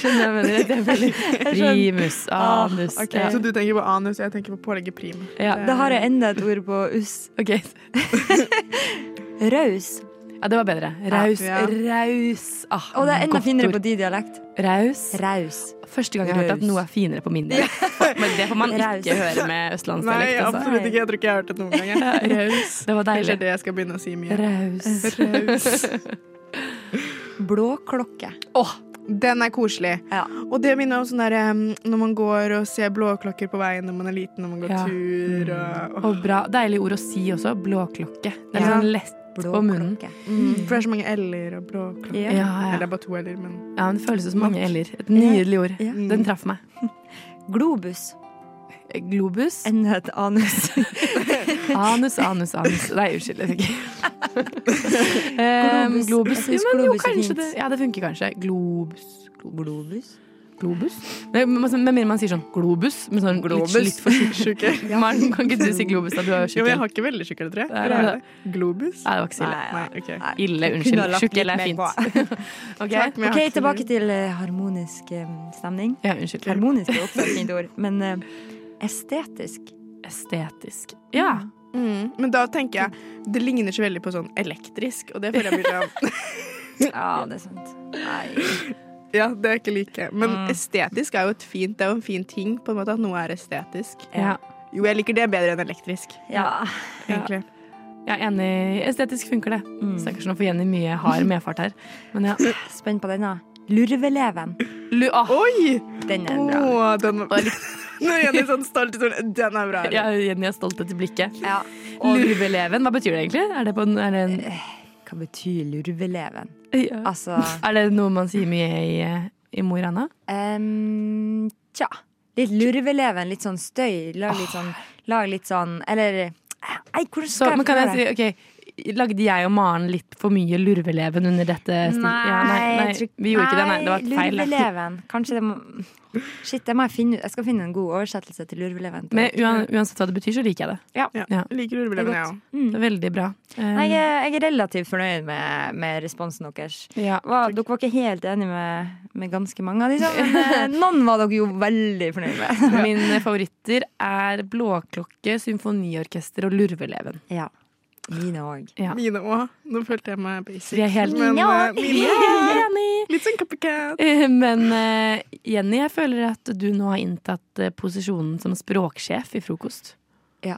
[SPEAKER 5] skjønner jeg hva jeg mener? Det er veldig primus, anus.
[SPEAKER 15] Ah, ok.
[SPEAKER 5] Ja.
[SPEAKER 15] Så du tenker på anus, og jeg tenker på pålegget prim.
[SPEAKER 5] Ja.
[SPEAKER 14] Da har jeg enda et ord på us.
[SPEAKER 5] Ok.
[SPEAKER 14] Raus.
[SPEAKER 5] Ja, det var bedre. Raus.
[SPEAKER 14] Ja.
[SPEAKER 5] Raus. Ah,
[SPEAKER 14] Og det er enda
[SPEAKER 5] godt
[SPEAKER 14] finere
[SPEAKER 5] ord.
[SPEAKER 14] på din dialekt.
[SPEAKER 5] Raus.
[SPEAKER 14] Raus.
[SPEAKER 5] Første gang jeg har hørt at
[SPEAKER 14] Raus.
[SPEAKER 5] noe er finere på min del. Men det får man
[SPEAKER 14] Raus.
[SPEAKER 5] ikke høre med
[SPEAKER 15] Nei,
[SPEAKER 5] østlandsdialekt. altså.
[SPEAKER 15] absolutt ikke. Jeg tror ikke jeg har hørt det noen gang. jeg. Raus.
[SPEAKER 5] Det var
[SPEAKER 15] Kanskje
[SPEAKER 5] deilig.
[SPEAKER 15] det jeg skal begynne å si mye.
[SPEAKER 5] Raus.
[SPEAKER 15] Raus.
[SPEAKER 14] Blåklokke.
[SPEAKER 15] Åh, den er koselig. Og det minner om sånn der um, når man går og ser blåklokker på veien når man er liten, når man går
[SPEAKER 5] Ja.
[SPEAKER 15] tur og åh.
[SPEAKER 5] Og bra, deilig ord å si også. Blåklokke. Det er
[SPEAKER 15] Ja.
[SPEAKER 5] sånn lett på munnen.
[SPEAKER 15] Mm, For det er så mange l-er og blåklokker.
[SPEAKER 5] Ja, ja.
[SPEAKER 15] Eller det er bare to l-er, men Mm.
[SPEAKER 5] Ja, men Det føles ut som mange l-er. Et nydelig ord. Den traff meg.
[SPEAKER 14] Globus.
[SPEAKER 5] Globus.
[SPEAKER 14] Enda et anus.
[SPEAKER 5] anus, anus, anus. Nei, unnskyld. Jeg fikk um,
[SPEAKER 14] Globus.
[SPEAKER 5] Globus.
[SPEAKER 14] Jeg synes
[SPEAKER 5] Ja, men jo,
[SPEAKER 14] globus er
[SPEAKER 5] kanskje
[SPEAKER 14] fint.
[SPEAKER 5] Det, ja, det funker kanskje. Globus. Globus? Globus? Nei, men altså, Med mindre man sier sånn globus, men sånn
[SPEAKER 15] Globus.
[SPEAKER 5] litt, litt for syk-
[SPEAKER 15] Sjuke.
[SPEAKER 5] Maren, kan ikke du si globus da du er
[SPEAKER 15] Jo,
[SPEAKER 5] tjukk?
[SPEAKER 15] men jeg har ikke veldig tjukk, tror jeg.
[SPEAKER 5] Nei,
[SPEAKER 15] Eller er
[SPEAKER 5] nei.
[SPEAKER 15] det? Globus?
[SPEAKER 5] Nei, det var ikke så ille.
[SPEAKER 15] Nei, ok.
[SPEAKER 5] Ille,
[SPEAKER 15] Kunne
[SPEAKER 5] unnskyld.
[SPEAKER 15] ha lagt
[SPEAKER 5] Tjukk
[SPEAKER 15] litt
[SPEAKER 5] eller er
[SPEAKER 15] mer
[SPEAKER 5] fint.
[SPEAKER 15] på.
[SPEAKER 14] Ok,
[SPEAKER 15] Klart, men jeg har ikke så
[SPEAKER 14] tilbake til eh, harmonisk eh, stemning.
[SPEAKER 5] Ja, unnskyld.
[SPEAKER 14] Harmonisk er også et fint ord, men eh, estetisk.
[SPEAKER 5] Estetisk.
[SPEAKER 15] Ja. Mm. Men da tenker jeg Det ligner så veldig på sånn elektrisk, og det føler jeg blir sånn
[SPEAKER 14] Ja, det er sant.
[SPEAKER 15] Ja, det er ikke like. Men
[SPEAKER 14] Mm.
[SPEAKER 15] estetisk er jo et fint Det er jo en fin ting, på en måte, at noe er estetisk.
[SPEAKER 5] Ja.
[SPEAKER 15] Jo, jeg liker det bedre enn elektrisk.
[SPEAKER 14] Ja.
[SPEAKER 15] Egentlig. Mm.
[SPEAKER 5] Jeg er enig. Estetisk funker det. Stakkars, nå får Jenny mye hard medfart her. Men ja. ah.
[SPEAKER 14] Spent på denne. Lurveleven.
[SPEAKER 15] Oi!
[SPEAKER 14] Den er bra.
[SPEAKER 15] Å, den Nå er Jenny sånn stolt i stolen. Den er bra.
[SPEAKER 5] Ja, Jenny er stolt etter blikket.
[SPEAKER 14] Ja.
[SPEAKER 5] Lurveleven, hva betyr det egentlig? Er det, på, en- er det en
[SPEAKER 14] Eh, Hva betyr lurveleven? Altså
[SPEAKER 5] Er det noe man sier mye i, eh, i Mo i Rana?
[SPEAKER 14] em, Tja. Litt lurveleven, litt sånn støy. Lag litt sånn, lag litt sånn Eller Nei, hvordan
[SPEAKER 5] Så,
[SPEAKER 14] skal
[SPEAKER 5] men kan jeg si,
[SPEAKER 14] forklare?
[SPEAKER 5] ok Lagde jeg og Maren litt for mye lurveleven under dette? stil- Ja, nei, nei,
[SPEAKER 14] jeg tror-
[SPEAKER 5] vi gjorde ikke det. Nei, det var et feil.
[SPEAKER 14] Lurveleven. Kanskje det må Shit, det må jeg finne ut. Jeg skal finne en god oversettelse til lurveleven.
[SPEAKER 5] Men uan, uansett hva det betyr, så liker jeg det.
[SPEAKER 15] Ja.
[SPEAKER 5] Liker
[SPEAKER 15] lurveleven, jeg også.
[SPEAKER 5] Det er veldig bra. Eh,
[SPEAKER 14] Nei, jeg, jeg er relativt fornøyd med, med responsen deres.
[SPEAKER 5] Ja,
[SPEAKER 14] var, dere var ikke helt enige med, med ganske mange av disse, men eh, noen var dere jo veldig fornøyd med.
[SPEAKER 5] Mine favoritter er Blåklokke, Symfoniorkester og Lurveleven.
[SPEAKER 14] Ja. Mine òg.
[SPEAKER 5] Ja.
[SPEAKER 15] Mine òg. Nå følte jeg meg basic.
[SPEAKER 5] Vi er helt-
[SPEAKER 15] Men,
[SPEAKER 5] Mine
[SPEAKER 15] eh,
[SPEAKER 5] også.
[SPEAKER 15] mine
[SPEAKER 5] Vi er
[SPEAKER 15] Litt sånn cupcake.
[SPEAKER 5] Eh, Men eh, Jenny, jeg føler at du nå har inntatt eh, posisjonen som språksjef i frokost.
[SPEAKER 14] Ja.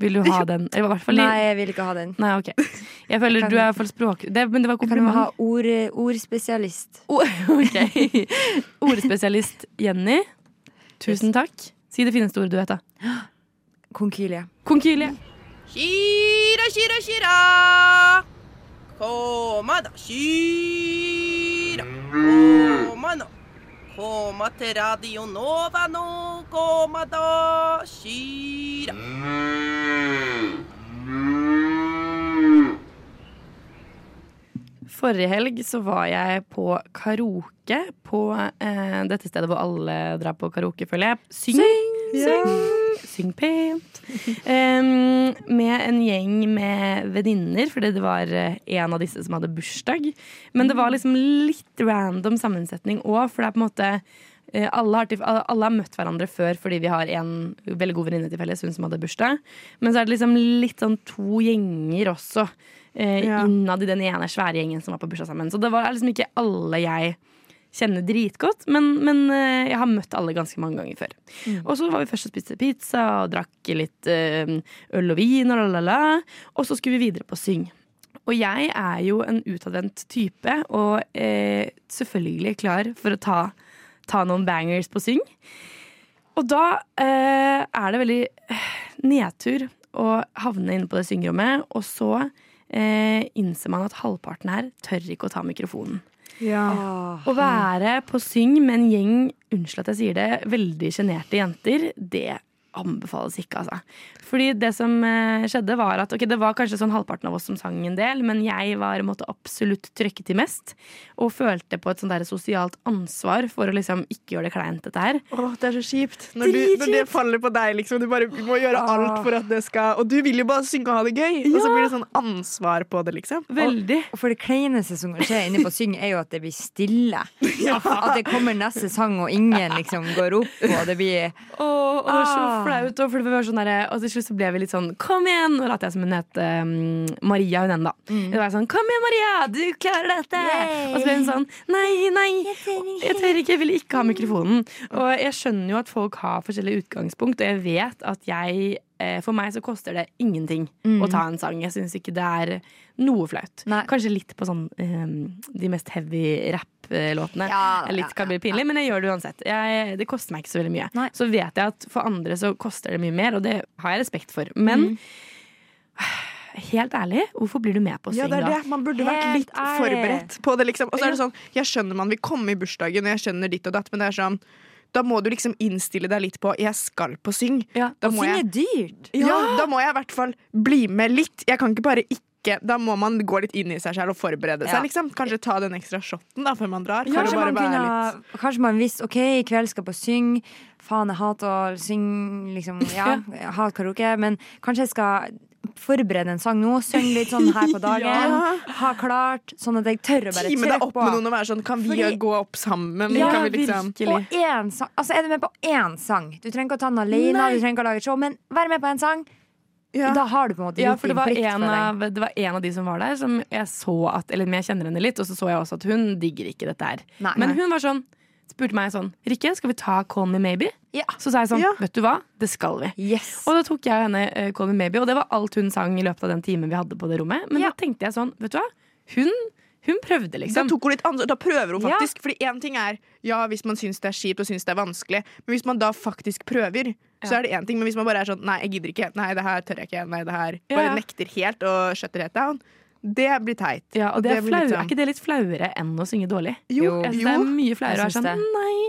[SPEAKER 5] Vil du ha den? Eller i hvert fall i-
[SPEAKER 14] Nei, jeg vil ikke ha den.
[SPEAKER 5] Nei, ok. Jeg føler
[SPEAKER 14] Jeg kan
[SPEAKER 5] du er i hvert fall språk... Det, men det var
[SPEAKER 14] Kan du
[SPEAKER 5] kompliment.
[SPEAKER 14] ha ord, ordspesialist?
[SPEAKER 5] ok. Ordspesialist Jenny, tusen takk. Si det fineste ordet du vet, da.
[SPEAKER 14] Konkylie.
[SPEAKER 5] Konkylie.
[SPEAKER 8] Kira, kira, kira. Koma da, kira. Koma nå. Koma til Radio Nova nå. Koma da, kira.
[SPEAKER 5] Forrige helg så var jeg på karaoke på eh, dette stedet hvor alle drar på karaoke, føler jeg. Syng! Syng, syng pent. Em, med en gjeng med venninner, fordi det var eh, en av disse som hadde bursdag. Men det var liksom litt random sammensetning òg, for det er på en måte eh, alle har, til, alle har møtt hverandre før fordi vi har en veldig god venninne til felles, hun som hadde bursdag. Men så er det liksom litt sånn to gjenger også. Eh,
[SPEAKER 15] Ja.
[SPEAKER 5] Innad i den ene svære gjengen som var på bursdag sammen. Så det var liksom ikke alle jeg kjenner dritgodt, men, men eh, jeg har møtt alle ganske mange ganger før. Og så var vi først og spiste pizza og drakk litt eh, øl og vin, og la la la. Og så skulle vi videre på syng. Og jeg er jo en utadvendt type, og eh, selvfølgelig klar for å ta, ta noen bangers på syng. Og da eh, er det veldig eh, nedtur å havne inne på det syngerommet, og så eh, innser man at halvparten her tør ikke å ta mikrofonen. Å være på syng med en gjeng, unnskyld at jeg sier det, veldig sjenerte jenter, det anbefales ikke, altså. Fordi det som eh, skjedde, var at ok, det var kanskje sånn halvparten av oss som sang en del, men jeg var måtte absolutt trøkke til mest, og følte på et sånn der sosialt ansvar for å liksom ikke gjøre det kleint, dette her.
[SPEAKER 15] Åh, det er så kjipt. Når, du, når det faller på deg, liksom. Du bare må gjøre
[SPEAKER 5] Ah.
[SPEAKER 15] alt for at det skal Og du vil jo bare synge og ha det gøy, og så blir det sånn ansvar på det, liksom.
[SPEAKER 5] Veldig.
[SPEAKER 14] Og for det kleineste som kan skje inne på syng, er jo at det blir stille. At det kommer neste sang, og ingen liksom går opp, og det blir
[SPEAKER 5] Og, og det var så
[SPEAKER 14] Ah.
[SPEAKER 5] flaut. Og, for det var sånn derre- og til slutt så ble vi litt sånn Kom igjen! Nå later jeg som hun het um, Maria, hun enda. Det var sånn Kom igjen, Maria! Du klarer dette! Og så ble hun sånn Nei, nei! Jeg tør ikke! Jeg vil ikke ha mikrofonen. Og jeg skjønner jo at folk har forskjellige utgangspunkt, og jeg vet at jeg eh, for meg så koster det ingenting
[SPEAKER 14] Mm.
[SPEAKER 5] å ta en sang. Jeg syns ikke det er noe flaut. Kanskje litt på sånn eh, de mest heavy rap-låtene.
[SPEAKER 14] Ja,
[SPEAKER 5] litt kan bli pinlig, men jeg gjør det uansett. Jeg, det koster meg ikke så veldig mye. Så vet jeg at for andre så koster det mye mer, og det har jeg respekt for. Men helt ærlig, hvorfor blir du med på å
[SPEAKER 15] Ja,
[SPEAKER 5] synge
[SPEAKER 15] det er
[SPEAKER 5] da?
[SPEAKER 15] det. Man burde vært litt forberedt på det, liksom. Og så er det sånn, jeg skjønner man vil komme i bursdagen, og jeg skjønner ditt og datt, men det er sånn da må du liksom innstille deg litt på Jeg skal på syng. da
[SPEAKER 14] og
[SPEAKER 15] må
[SPEAKER 14] syng
[SPEAKER 15] jeg-
[SPEAKER 14] er dyrt.
[SPEAKER 15] Ja, da må jeg i hvert fall bli med litt. Jeg kan ikke bare ikke Da må man gå litt inn i seg selv og forberede
[SPEAKER 14] Ja.
[SPEAKER 15] seg. Liksom. Kanskje ta den ekstra shotten da, før man drar. For å
[SPEAKER 14] Kanskje
[SPEAKER 15] bare
[SPEAKER 14] man,
[SPEAKER 15] være
[SPEAKER 14] kunne,
[SPEAKER 15] litt
[SPEAKER 14] ha- kanskje man visste OK, i kveld skal jeg på syng. Faen, jeg hater å synge, liksom. Ja, jeg hater karaoke. Men kanskje jeg skal forberede en sang nå. Synge litt sånn her på dagen.
[SPEAKER 15] Ja.
[SPEAKER 14] Ha klart, sånn at jeg tør å bare
[SPEAKER 15] Time deg
[SPEAKER 14] trykke
[SPEAKER 15] opp
[SPEAKER 14] på.
[SPEAKER 15] med noen og være sånn Kan vi
[SPEAKER 14] Fordi-
[SPEAKER 15] gå opp sammen? kan vi liksom
[SPEAKER 14] Og én sang. Altså, er du med på én sang? Du trenger ikke å ta den alene,
[SPEAKER 5] Nei.
[SPEAKER 14] du trenger ikke å lage et show, men vær med på én sang. Da har du på en måte
[SPEAKER 5] ja,
[SPEAKER 14] gjort
[SPEAKER 5] for det
[SPEAKER 14] din
[SPEAKER 5] var,
[SPEAKER 14] plikt
[SPEAKER 5] en
[SPEAKER 14] for deg.
[SPEAKER 5] av, det var en av de som var der, som jeg så at Eller men jeg kjenner henne litt, og så så jeg også at hun digger ikke dette her.
[SPEAKER 14] Nei.
[SPEAKER 5] Men
[SPEAKER 14] Nei.
[SPEAKER 5] hun var sånn spurte meg sånn Rikke, skal vi ta Call Me Maybe? Så sa jeg sånn,
[SPEAKER 14] Ja.
[SPEAKER 5] vet du hva, det skal vi. Og da tok jeg og henne eh, Call Me Maybe, og det var alt hun sang i løpet av den timen vi hadde på det rommet. Men da tenkte jeg sånn, vet du hva, hun, hun prøvde liksom.
[SPEAKER 15] Da tok hun litt ansvar, da prøver hun
[SPEAKER 5] Ja.
[SPEAKER 15] faktisk. Fordi én ting er ja, hvis man syns det er kjipt og syns det er vanskelig, men hvis man da faktisk prøver, så
[SPEAKER 5] Ja.
[SPEAKER 15] er det én ting. Men hvis man bare er sånn nei, jeg gidder ikke, nei, det her tør jeg ikke, nei, det her
[SPEAKER 5] Ja, ja.
[SPEAKER 15] bare nekter helt og shutter helt down, det blir teit.
[SPEAKER 5] Ja, og det er,
[SPEAKER 15] blir
[SPEAKER 5] flau,
[SPEAKER 15] litt
[SPEAKER 5] er
[SPEAKER 15] sånn-
[SPEAKER 5] ikke det litt flauere enn å synge dårlig?
[SPEAKER 15] Jo,
[SPEAKER 5] Jeg synes
[SPEAKER 15] jo.
[SPEAKER 5] det er mye flauere å
[SPEAKER 15] Jeg
[SPEAKER 5] være sånn
[SPEAKER 15] synes
[SPEAKER 5] nei.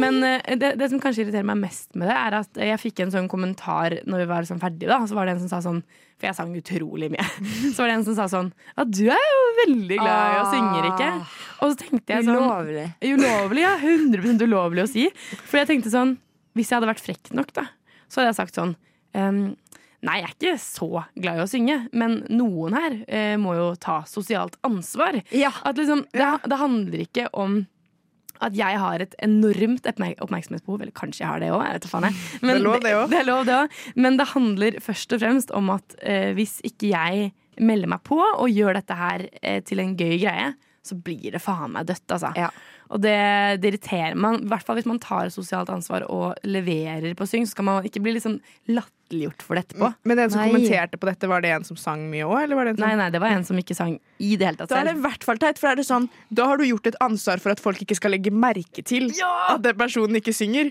[SPEAKER 5] Men eh, det, det som kanskje irriterer meg mest med det, er at jeg fikk en sånn kommentar når vi var sånn ferdige, da. Så var det en som sa sånn For jeg sang utrolig mye. Så var det en som sa sånn Ja, du er jo veldig glad i
[SPEAKER 15] Ah.
[SPEAKER 5] å synge, Rikke. Og så tenkte jeg sånn
[SPEAKER 14] Ulovlig.
[SPEAKER 5] Ulovlig, ja. 100 ulovlig å si. For jeg tenkte sånn Hvis jeg hadde vært frekk nok, da, så hadde jeg sagt sånn ehm, Nei, jeg er ikke så glad i å synge, men noen her eh, må jo ta sosialt ansvar. At liksom, det, det handler ikke om at jeg har et enormt oppmerk- oppmerksomhetsbehov. Eller kanskje jeg har det òg, jeg vet da faen. jeg. Men
[SPEAKER 15] Det er lov, det også.
[SPEAKER 5] det er lov, det også. Men det handler først og fremst om at eh, hvis ikke jeg melder meg på og gjør dette her eh, til en gøy greie, så blir det faen meg dødt, altså. Og det, det irriterer meg. I hvert fall hvis man tar sosialt ansvar og leverer på syng, så skal man ikke bli liksom latterliggjort for det etterpå.
[SPEAKER 15] Men den som
[SPEAKER 5] Nei.
[SPEAKER 15] kommenterte på dette, var det en som sang mye òg?
[SPEAKER 5] Nei, nei, det var en som ikke sang i det hele tatt
[SPEAKER 15] Da er det
[SPEAKER 5] selv.
[SPEAKER 15] i hvert fall teit, for da er det sånn, da har du gjort et ansvar for at folk ikke skal legge merke til at den personen ikke synger.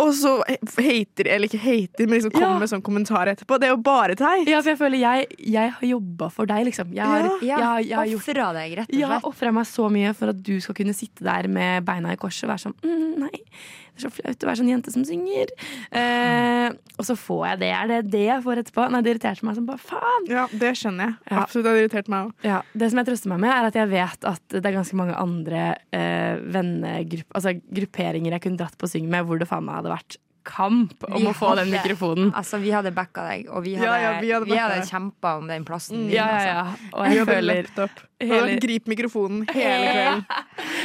[SPEAKER 15] Og så he- hater, eller ikke hater, men liksom kommer med sånn kommentar etterpå. Det er jo bare teit.
[SPEAKER 5] Ja, for jeg føler jeg, jeg har jobba for deg, liksom. Jeg har,
[SPEAKER 14] Ja.
[SPEAKER 5] jeg, har- jeg har gjort-
[SPEAKER 14] Offret deg, rett og
[SPEAKER 5] Ja,
[SPEAKER 14] slett.
[SPEAKER 5] offra meg så mye for at du skal kunne sitte der med beina i korset og være sånn mm, Nei, det er så flaut å være sånn jente som synger. Eh, og så får jeg det. Er det det jeg får etterpå? Nei, det irriterte meg som bare faen.
[SPEAKER 15] Ja, det skjønner jeg.
[SPEAKER 5] Ja.
[SPEAKER 15] Absolutt, det har irritert meg òg.
[SPEAKER 5] Ja, Det som jeg trøster meg med, er at jeg vet at det er ganske mange andre eh, vennegrupp, altså grupperinger jeg kunne dratt på syng med, hvor det faen meg hadde vært kamp om
[SPEAKER 14] Vi
[SPEAKER 5] å få den
[SPEAKER 14] hadde-
[SPEAKER 5] mikrofonen.
[SPEAKER 14] Altså, vi hadde backa deg, og vi hadde,
[SPEAKER 5] Ja, ja, vi hadde
[SPEAKER 14] vi
[SPEAKER 5] backa
[SPEAKER 14] hadde
[SPEAKER 5] deg.
[SPEAKER 14] kjempa om den plassen.
[SPEAKER 5] Mm.
[SPEAKER 14] din,
[SPEAKER 5] Ja, ja, ja.
[SPEAKER 14] altså.
[SPEAKER 5] Og jeg føler hele-
[SPEAKER 15] Grip mikrofonen hele kvelden.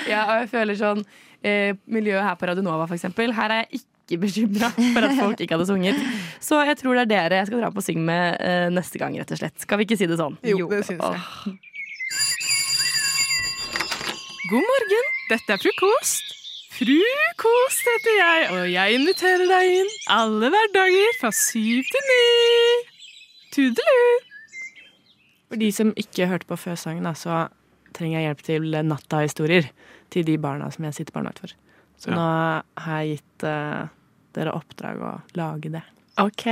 [SPEAKER 5] Ja, og jeg føler sånn eh, Miljøet her på Radionova, for eksempel. Her er jeg ikke bekymra for at folk ikke hadde sunget. Så jeg tror det er dere jeg skal dra på syng med eh, neste gang, rett og slett. Skal vi ikke si det sånn?
[SPEAKER 15] Jo, det syns jeg.
[SPEAKER 5] Åh. God morgen, dette er frokost.
[SPEAKER 17] Frukost heter jeg, og jeg inviterer deg inn alle hverdager fra syv til ni. Tudelu!
[SPEAKER 6] For de som ikke hørte på føsangen, da, så trenger jeg hjelp til natta-historier til de barna som jeg sitter barnevakt for. Så
[SPEAKER 17] Ja.
[SPEAKER 6] nå har jeg gitt eh, dere oppdrag å lage det.
[SPEAKER 17] OK.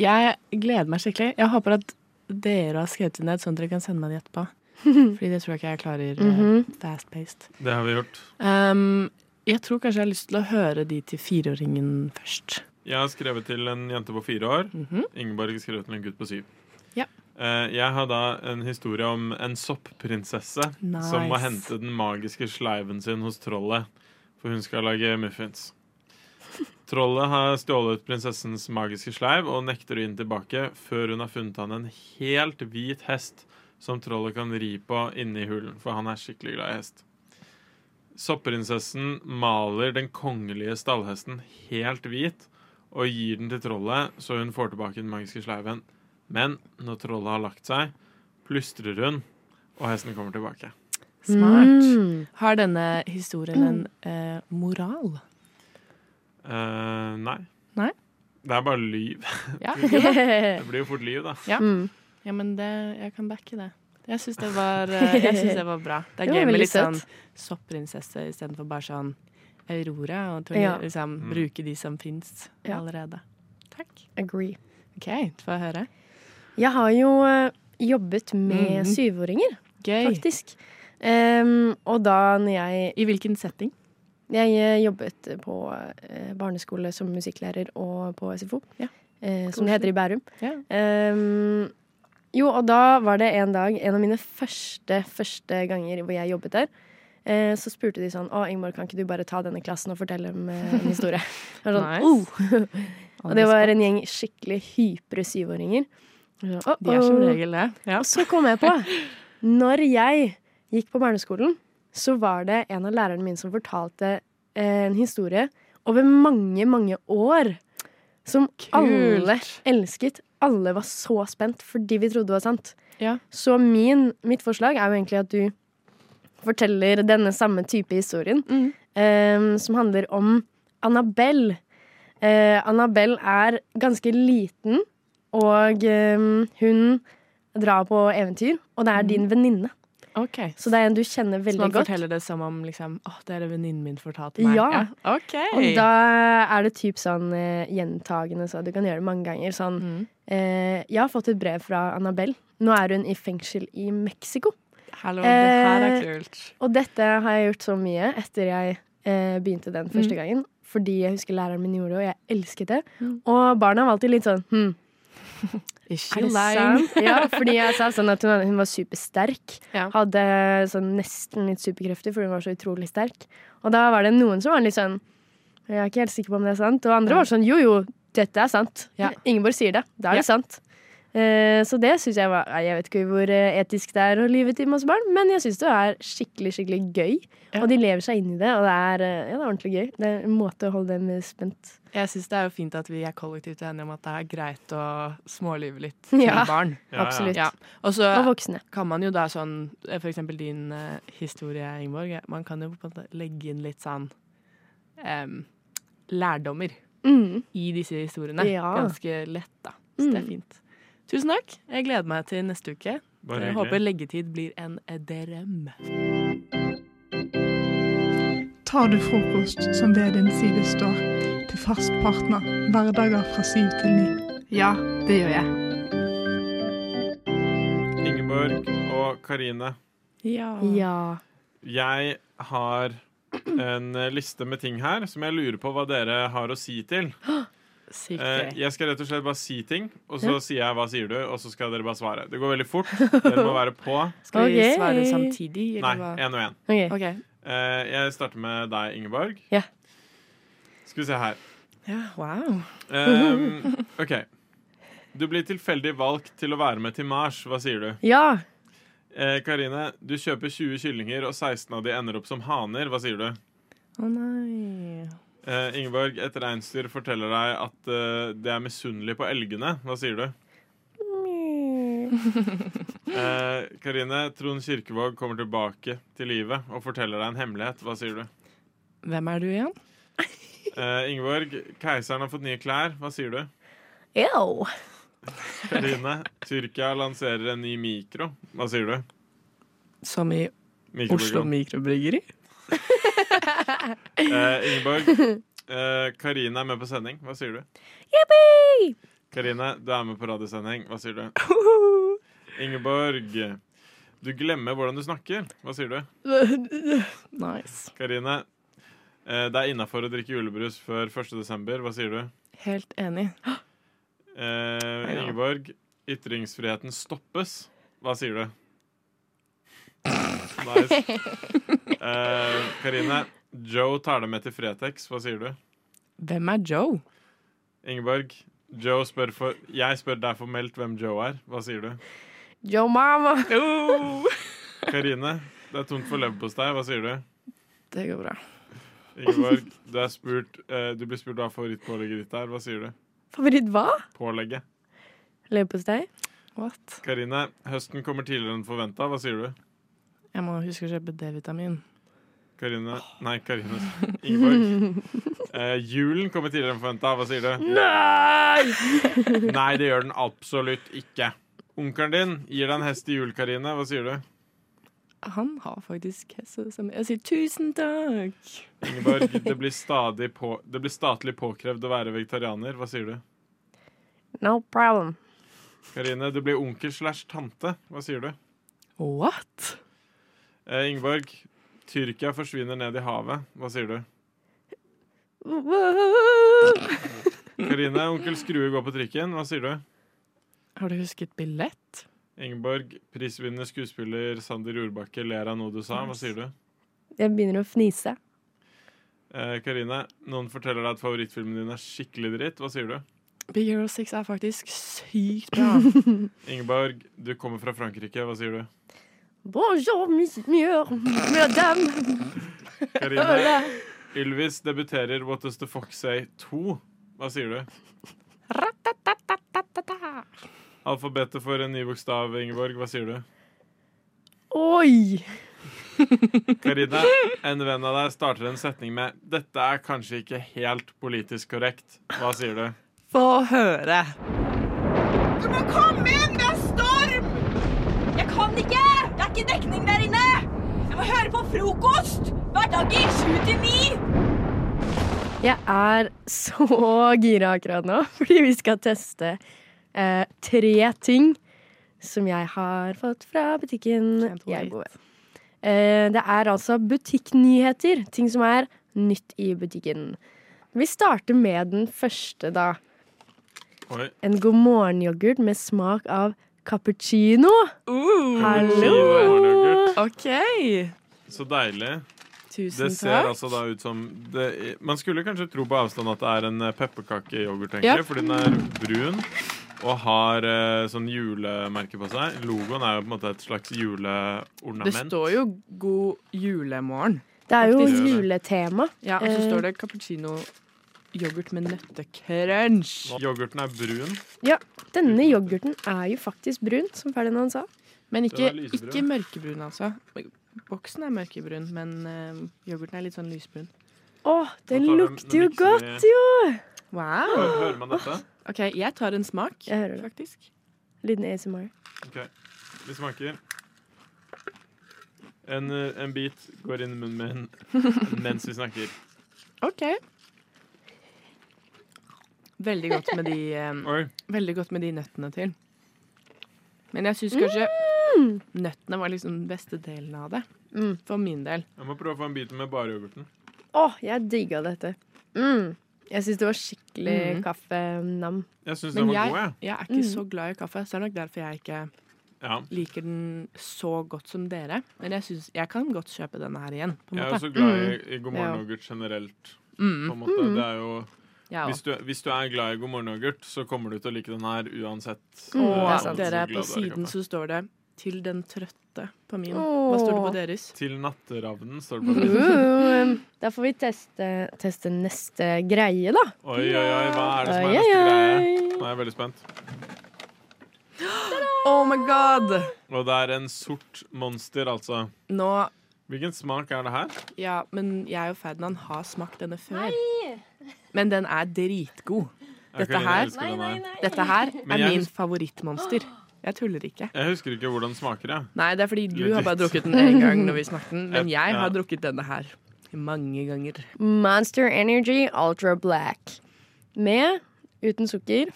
[SPEAKER 6] Jeg gleder meg skikkelig. Jeg håper at dere har skrevet det ned, sånn at dere kan sende meg det etterpå. Fordi det tror jeg ikke jeg klarer eh,
[SPEAKER 17] Mhm.
[SPEAKER 6] fast-paced.
[SPEAKER 11] Det har vi gjort.
[SPEAKER 6] Um, jeg tror kanskje jeg har lyst til å høre de til fireåringen først.
[SPEAKER 11] Jeg har skrevet til en jente på fire år. Ingeborg har skrevet til en gutt på syv.
[SPEAKER 6] Mhm. Ja.
[SPEAKER 11] Eh, Jeg har da en historie om en soppprinsesse
[SPEAKER 6] Nice.
[SPEAKER 11] som må hente den magiske sleiven sin hos trollet, for hun skal lage muffins. Trollet har stjålet prinsessens magiske sleiv og nekter å gi den tilbake før hun har funnet han en helt hvit hest som trollet kan ri på inne i hulen, for han er skikkelig glad i hest. Sopprinsessen maler den kongelige stallhesten helt hvit og gir den til trollet, så hun får tilbake den magiske sleiven. Men når trollet har lagt seg, plystrer hun, og hesten kommer tilbake.
[SPEAKER 6] Smart. Har denne historien en eh, moral?
[SPEAKER 11] Eh, nei.
[SPEAKER 6] Nei?
[SPEAKER 11] Det er bare lyv.
[SPEAKER 6] Ja.
[SPEAKER 11] det blir jo fort lyv, da.
[SPEAKER 6] Ja, ja men det, jeg kan backe det. Jeg syns det, var, eh, jeg synes det var bra. Det er
[SPEAKER 17] Det var
[SPEAKER 6] gøy med
[SPEAKER 17] veldig
[SPEAKER 6] litt sånn
[SPEAKER 17] søtt.
[SPEAKER 6] sopprinsesse istedenfor bare sånn Aurora. Og Tonje,
[SPEAKER 17] Ja.
[SPEAKER 6] liksom,
[SPEAKER 17] Mm.
[SPEAKER 6] Bruke de som fins
[SPEAKER 17] Ja.
[SPEAKER 6] allerede. Takk.
[SPEAKER 17] Agree.
[SPEAKER 6] OK, få høre.
[SPEAKER 17] Jeg har jo eh, jobbet med
[SPEAKER 6] Mhm.
[SPEAKER 17] syvåringer,
[SPEAKER 6] Gøy.
[SPEAKER 17] faktisk. Em, og da når jeg
[SPEAKER 6] I hvilken setting?
[SPEAKER 18] Jeg eh, jobbet på eh, barneskole som musikklærer og på SFO, eh, som det heter i Bærum. Ehm, jo, og da var det en dag, en av mine første, første ganger hvor jeg jobbet der, eh, så spurte de sånn Å, Ingeborg, kan ikke du bare ta denne klassen og fortelle dem eh, en historie? Jeg var sånn, oh! og det var en gjeng skikkelig hypre syvåringer. Jeg var sånn,
[SPEAKER 6] De er som
[SPEAKER 18] «Å, å».
[SPEAKER 6] regel det. Ja.
[SPEAKER 18] Og så kom jeg på Når jeg gikk på barneskolen, så var det en av lærerne mine som fortalte eh, en historie over mange, mange år. Som alle elsket. Alle var så spent fordi vi trodde det var sant. Så min, mitt forslag er jo egentlig at du forteller denne samme type historien,
[SPEAKER 6] Mm.
[SPEAKER 18] eh, som handler om Annabelle. Eh, Annabelle er ganske liten, og eh, hun drar på eventyr, og det er din venninne.
[SPEAKER 6] Mm. Ok.
[SPEAKER 18] Så det er en du kjenner
[SPEAKER 6] Så
[SPEAKER 18] veldig
[SPEAKER 6] man
[SPEAKER 18] godt.
[SPEAKER 6] forteller det som om liksom, Åh, det er det venninnen min fortalte meg.
[SPEAKER 18] Ja.
[SPEAKER 6] Ok.
[SPEAKER 18] Og da er det typ sånn eh, gjentagende, så du kan gjøre det mange ganger. Sånn
[SPEAKER 6] Mm.
[SPEAKER 18] eh, Jeg har fått et brev fra Annabelle. Nå er hun i fengsel i Mexico.
[SPEAKER 6] Hallo, det her er
[SPEAKER 18] Eh,
[SPEAKER 6] kult.
[SPEAKER 18] Og dette har jeg gjort så mye etter jeg eh, begynte den første
[SPEAKER 6] Mm.
[SPEAKER 18] gangen. Fordi jeg husker læreren min gjorde det, og jeg elsket det.
[SPEAKER 6] Mm.
[SPEAKER 18] Og barna var alltid litt sånn hm,
[SPEAKER 6] Ikke
[SPEAKER 18] er det
[SPEAKER 6] lame.
[SPEAKER 18] sant? Ja, fordi jeg sa sånn at hun, hadde- hun var supersterk. Hadde sånn nesten litt superkrefter, fordi hun var så utrolig sterk. Og da var det noen som var litt sånn Jeg er ikke helt sikker på om det er sant. Og andre var sånn jo, jo, dette er sant.
[SPEAKER 6] Ja.
[SPEAKER 18] Ingeborg sier det. Da er det
[SPEAKER 6] Ja.
[SPEAKER 18] sant. Eh, Så det syns jeg var Nei, Jeg vet ikke hvor eh, etisk det er å lyve til masse barn, men jeg syns det er skikkelig, skikkelig gøy. Og de lever seg inn i det, og det er, eh, ja, det er ordentlig gøy. Det er en måte å holde dem spent.
[SPEAKER 6] Jeg syns det er jo fint at vi er kollektivt enige om at det er greit å smålyve litt til
[SPEAKER 18] Ja,
[SPEAKER 6] barn.
[SPEAKER 18] Ja, ja. absolutt.
[SPEAKER 6] Og så
[SPEAKER 18] Og voksne.
[SPEAKER 6] kan man jo da sånn eh, For eksempel din eh, historie, Ingeborg. eh, Man kan jo på en måte legge inn litt sånn em, lærdommer
[SPEAKER 18] Mm.
[SPEAKER 6] i disse historiene.
[SPEAKER 18] Ja.
[SPEAKER 6] Ganske lett, da. Så
[SPEAKER 5] Mm.
[SPEAKER 6] det er fint. Tusen takk. Jeg gleder meg til neste uke.
[SPEAKER 13] Bare
[SPEAKER 6] jeg
[SPEAKER 13] hyggelig.
[SPEAKER 6] håper leggetid blir en eh, drøm.
[SPEAKER 10] Tar du frokost som ved din side står, til fast partner, hverdager fra syv til ni? Ja, det gjør jeg.
[SPEAKER 11] Ingeborg og Karine.
[SPEAKER 6] Ja.
[SPEAKER 11] Jeg har en eh, liste med ting her som jeg lurer på hva dere har å si til. Eh, jeg skal rett og slett bare si ting, og så
[SPEAKER 6] Ja.
[SPEAKER 11] sier jeg 'hva sier du', og så skal dere bare svare. Det går veldig fort. Dere må være på.
[SPEAKER 6] Skal vi Ok. svare samtidig, eller
[SPEAKER 11] Nei,
[SPEAKER 6] hva?
[SPEAKER 11] én og én.
[SPEAKER 6] Ok. Ok.
[SPEAKER 11] Eh, jeg starter med deg, Ingeborg.
[SPEAKER 18] Ja.
[SPEAKER 11] Skal vi se her.
[SPEAKER 6] Ja, wow.
[SPEAKER 11] Ehm, OK. Du blir tilfeldig valgt til å være med til Mars. Hva sier du?
[SPEAKER 18] Ja.
[SPEAKER 11] Eh, Karine, du kjøper 20 kyllinger, og 16 av de ender opp som haner. Hva sier du?
[SPEAKER 6] Å nei.
[SPEAKER 11] Eh, Ingeborg, et reinsdyr forteller deg at eh, det er misunnelig på elgene. Hva sier du? Eh, Karine, Trond Kirkevåg kommer tilbake til livet og forteller deg en hemmelighet. Hva sier du?
[SPEAKER 6] Hvem er du igjen?
[SPEAKER 11] Eh, Ingeborg, keiseren har fått nye klær. Hva sier du?
[SPEAKER 18] Ew.
[SPEAKER 11] Karine, Tyrkia lanserer en ny mikro. Hva sier du?
[SPEAKER 6] Som i
[SPEAKER 11] Mikrobryggeri.
[SPEAKER 6] Oslo Mikrobryggeri?
[SPEAKER 11] Eh, Ingeborg, eh, Karine er med på sending. Hva sier du?
[SPEAKER 18] Yippee!
[SPEAKER 11] Karine, du er med på radiosending. Hva sier du? Ingeborg, du glemmer hvordan du snakker. Hva sier du?
[SPEAKER 6] Nice.
[SPEAKER 11] Karine, eh, det er innafor å drikke julebrus før 1. desember. Hva sier du?
[SPEAKER 6] Helt enig.
[SPEAKER 11] Eh,
[SPEAKER 6] Ja.
[SPEAKER 11] Ingeborg, ytringsfriheten stoppes. Hva sier du? Nice. Eh, Karine, Joe tar deg med til Fretex. Hva sier du?
[SPEAKER 6] Hvem er Joe?
[SPEAKER 11] Ingeborg, Joe spør for, jeg spør deg formelt hvem Joe er. Hva sier du?
[SPEAKER 18] Yo, mama!
[SPEAKER 11] Karine, det er tomt for leverpostei. Hva sier du?
[SPEAKER 6] Det går bra.
[SPEAKER 11] Ingeborg, du, er spurt, eh, du blir spurt hva favorittpålegget ditt er. Hva sier du?
[SPEAKER 18] Favoritt hva?
[SPEAKER 11] Pålegget.
[SPEAKER 18] Leverpostei?
[SPEAKER 6] What?
[SPEAKER 11] Karine, høsten kommer tidligere enn forventa. Hva sier du?
[SPEAKER 6] Jeg må huske å kjøpe D-vitamin.
[SPEAKER 11] Karine Nei, Karine. Ingeborg. Eh, julen kommer tidligere enn forventa. Hva sier du?
[SPEAKER 18] Nei!
[SPEAKER 11] Nei, det gjør den absolutt ikke. Onkelen din gir deg en hest i jul, Karine. Hva sier du?
[SPEAKER 6] Han har faktisk hesse som Jeg sier tusen takk!
[SPEAKER 11] Ingeborg, det blir, stadig på, det blir statlig påkrevd å være vegetarianer. Hva sier du?
[SPEAKER 18] No problem.
[SPEAKER 11] Karine, du blir onkel slash tante. Hva sier du?
[SPEAKER 6] What?
[SPEAKER 11] Eh, Ingeborg, Tyrkia forsvinner ned i havet. Hva sier du? Karine, onkel Skrue går på trikken. Hva sier du?
[SPEAKER 6] Har du husket billett?
[SPEAKER 11] Ingeborg, prisvinnende skuespiller Sander Jordbakke ler av noe du sa. Hva sier du?
[SPEAKER 18] Jeg begynner å fnise.
[SPEAKER 11] Eh, Karine, noen forteller deg at favorittfilmen din er skikkelig dritt. Hva sier du?
[SPEAKER 6] Big Hero 6 er faktisk sykt bra.
[SPEAKER 11] Ingeborg, du kommer fra Frankrike. Hva sier du?
[SPEAKER 18] Bonjour, monsieur, madame.
[SPEAKER 11] Karine, Ylvis debuterer What Does The Fox Say 2. Hva sier du? Alfabetet for en ny bokstav, Ingeborg. Hva sier du?
[SPEAKER 18] Oi!
[SPEAKER 11] Karine, en venn av deg starter en setning med 'Dette er kanskje ikke helt politisk korrekt'. Hva sier du?
[SPEAKER 6] Få høre.
[SPEAKER 8] Du må komme inn! Det er storm! Jeg kan ikke! Det er ikke dekning der inne! Jeg må høre på frokost! Hverdager 7 til 9!
[SPEAKER 18] Jeg er så gira akkurat nå, fordi vi skal teste eh, tre ting som jeg har fått fra butikken jeg bor ved. Eh, det er altså butikknyheter, ting som er nytt i butikken. Vi starter med den første, da.
[SPEAKER 11] Oi.
[SPEAKER 18] En god morgen-yoghurt med smak av cappuccino.
[SPEAKER 6] Uh.
[SPEAKER 18] Hallo!
[SPEAKER 6] OK.
[SPEAKER 11] Så deilig.
[SPEAKER 6] Tusen
[SPEAKER 11] det ser
[SPEAKER 6] takk.
[SPEAKER 11] altså da ut som det, Man skulle kanskje tro på avstand at det er en eh, pepperkakeyoghurt, tenker
[SPEAKER 6] Ja.
[SPEAKER 11] jeg, fordi den er brun. Og har eh, sånn julemerke på seg. Logoen er jo på en måte et slags
[SPEAKER 6] Det
[SPEAKER 11] juleornament.
[SPEAKER 6] står jo 'God julemorgen'.
[SPEAKER 18] Det er jo
[SPEAKER 6] faktisk.
[SPEAKER 18] juletema.
[SPEAKER 6] Ja, og så
[SPEAKER 18] Eh,
[SPEAKER 6] står det cappuccino yoghurt med nøttekrunch.
[SPEAKER 11] Yoghurten er brun.
[SPEAKER 18] Ja, denne yoghurten er jo faktisk brun, som Ferdinand sa.
[SPEAKER 6] Men
[SPEAKER 18] Den
[SPEAKER 6] ikke,
[SPEAKER 18] er lysebrun.
[SPEAKER 6] ikke mørkebrun, altså. Boksen er mørkebrun, men eh, yoghurten er litt sånn lysbrun.
[SPEAKER 18] Å, Eh, den lukter jo godt, jo!
[SPEAKER 6] Wow.
[SPEAKER 18] Hører- hører man dette?
[SPEAKER 6] OK, jeg tar en smak,
[SPEAKER 18] Jeg hører det.
[SPEAKER 6] faktisk.
[SPEAKER 18] Liten ASMR.
[SPEAKER 11] Ok, Vi smaker. En, eh, en bit går inn i munnen min mens vi snakker.
[SPEAKER 6] OK. Veldig godt med de eh, Veldig godt med de nøttene til. Men jeg syns kanskje nøttene var liksom den beste delen av det. For min del.
[SPEAKER 11] Jeg må prøve å få en bit med bare yoghurten.
[SPEAKER 18] Å, jeg digga dette. Mm. Jeg syns det var skikkelig
[SPEAKER 6] Mm.
[SPEAKER 18] kaffenam.
[SPEAKER 11] Jeg syns
[SPEAKER 6] Men
[SPEAKER 11] den var
[SPEAKER 6] jeg,
[SPEAKER 11] god, jeg.
[SPEAKER 6] jeg er ikke
[SPEAKER 18] Mm.
[SPEAKER 6] så glad i kaffe, så det er nok derfor jeg ikke
[SPEAKER 11] Ja.
[SPEAKER 6] liker den så godt som dere. Men jeg, synes, jeg kan godt kjøpe denne her igjen. På en
[SPEAKER 11] Jeg er
[SPEAKER 6] måte.
[SPEAKER 11] også glad i, i God
[SPEAKER 6] Ja.
[SPEAKER 11] morgen-yoghurt generelt.
[SPEAKER 6] Mm.
[SPEAKER 11] På en måte.
[SPEAKER 6] Mm.
[SPEAKER 11] Det er jo
[SPEAKER 6] Ja.
[SPEAKER 11] hvis du, hvis du er glad i God morgen-yoghurt, så kommer du til å like den her uansett.
[SPEAKER 6] Mm, det
[SPEAKER 11] eh,
[SPEAKER 6] er
[SPEAKER 11] hvor
[SPEAKER 6] sant. Dere
[SPEAKER 11] glad
[SPEAKER 6] er på
[SPEAKER 11] du i
[SPEAKER 6] siden,
[SPEAKER 11] kaffe.
[SPEAKER 6] så står det 'Til den trøtte' på min. Hva står det på deres?
[SPEAKER 11] Til natteravnen står det på
[SPEAKER 18] Mm. Da får vi teste, teste neste greie, da.
[SPEAKER 11] Oi, oi, oi, hva er det som er
[SPEAKER 18] Oi,
[SPEAKER 11] neste
[SPEAKER 18] oi,
[SPEAKER 11] greie? Nå er jeg veldig spent.
[SPEAKER 6] Oh my god!
[SPEAKER 11] Og det er en sort monster, altså.
[SPEAKER 6] Nå
[SPEAKER 11] Hvilken smak er det her?
[SPEAKER 6] Ja, men jeg og Ferdinand har smakt denne før. Men den er dritgod.
[SPEAKER 11] Jeg
[SPEAKER 6] Dette
[SPEAKER 11] kan
[SPEAKER 6] her,
[SPEAKER 11] elske den her. Nei, nei, nei.
[SPEAKER 6] dette her
[SPEAKER 11] Men
[SPEAKER 6] er
[SPEAKER 11] jeg
[SPEAKER 6] min
[SPEAKER 11] hus-
[SPEAKER 6] favorittmonster. Jeg tuller ikke.
[SPEAKER 11] Jeg husker ikke hvordan den smaker, jeg.
[SPEAKER 6] Nei, det er fordi du
[SPEAKER 11] Legit.
[SPEAKER 6] har bare drukket den én gang når vi smakte den, men
[SPEAKER 11] Et-
[SPEAKER 6] jeg
[SPEAKER 11] ja.
[SPEAKER 6] har drukket denne her mange ganger.
[SPEAKER 18] Monster Energy Ultra Black. Med, uten sukker,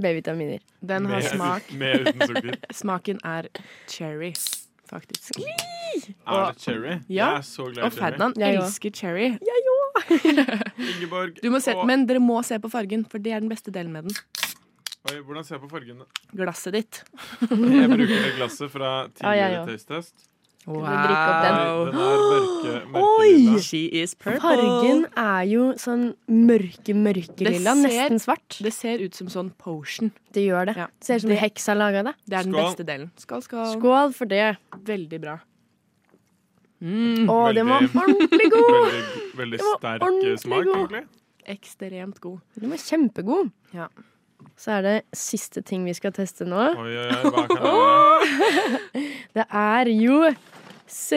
[SPEAKER 18] B-vitaminer.
[SPEAKER 6] Den har smak
[SPEAKER 11] med uten sukker.
[SPEAKER 6] Smaken er cherry, faktisk.
[SPEAKER 11] Er det cherry?
[SPEAKER 6] Ja.
[SPEAKER 11] Jeg er så glad i
[SPEAKER 6] og
[SPEAKER 11] cherry.
[SPEAKER 6] Ferdinand
[SPEAKER 11] Jeg også.
[SPEAKER 6] elsker cherry.
[SPEAKER 11] Ingeborg
[SPEAKER 6] Du må se,
[SPEAKER 11] og-
[SPEAKER 6] men dere må se på fargen, for det er den beste delen med den.
[SPEAKER 11] Oi, hvordan ser jeg på fargen?
[SPEAKER 6] Glasset ditt.
[SPEAKER 11] Jeg bruker det glasset fra
[SPEAKER 6] Ja, ja,
[SPEAKER 11] tidligere
[SPEAKER 6] ja.
[SPEAKER 11] taste-test.
[SPEAKER 6] Wow. Skal du drikke opp den?
[SPEAKER 11] Oi, den er mørke,
[SPEAKER 18] Oi!
[SPEAKER 11] mørkelilla.
[SPEAKER 6] She is
[SPEAKER 18] Fargen er jo sånn mørke, mørke lilla. Nesten
[SPEAKER 6] svart. Det ser ut som sånn potion.
[SPEAKER 18] Det gjør det. Det ser ut som en
[SPEAKER 6] Det-
[SPEAKER 18] heks har laga det.
[SPEAKER 6] Det er den beste delen. Skål, skål.
[SPEAKER 18] Skål for det. Mm.
[SPEAKER 6] Veldig bra.
[SPEAKER 18] Å, den var
[SPEAKER 6] veldig-
[SPEAKER 18] ordentlig god!
[SPEAKER 11] Veldig, veldig
[SPEAKER 18] Den var
[SPEAKER 11] sterk
[SPEAKER 18] ordentlig
[SPEAKER 11] smak,
[SPEAKER 18] god.
[SPEAKER 11] egentlig.
[SPEAKER 6] Ekstremt god.
[SPEAKER 18] Den var kjempegod.
[SPEAKER 6] Ja.
[SPEAKER 18] Så er det siste ting vi skal teste nå.
[SPEAKER 11] Oi, oi, oi, hva kan det være?
[SPEAKER 18] Det er jo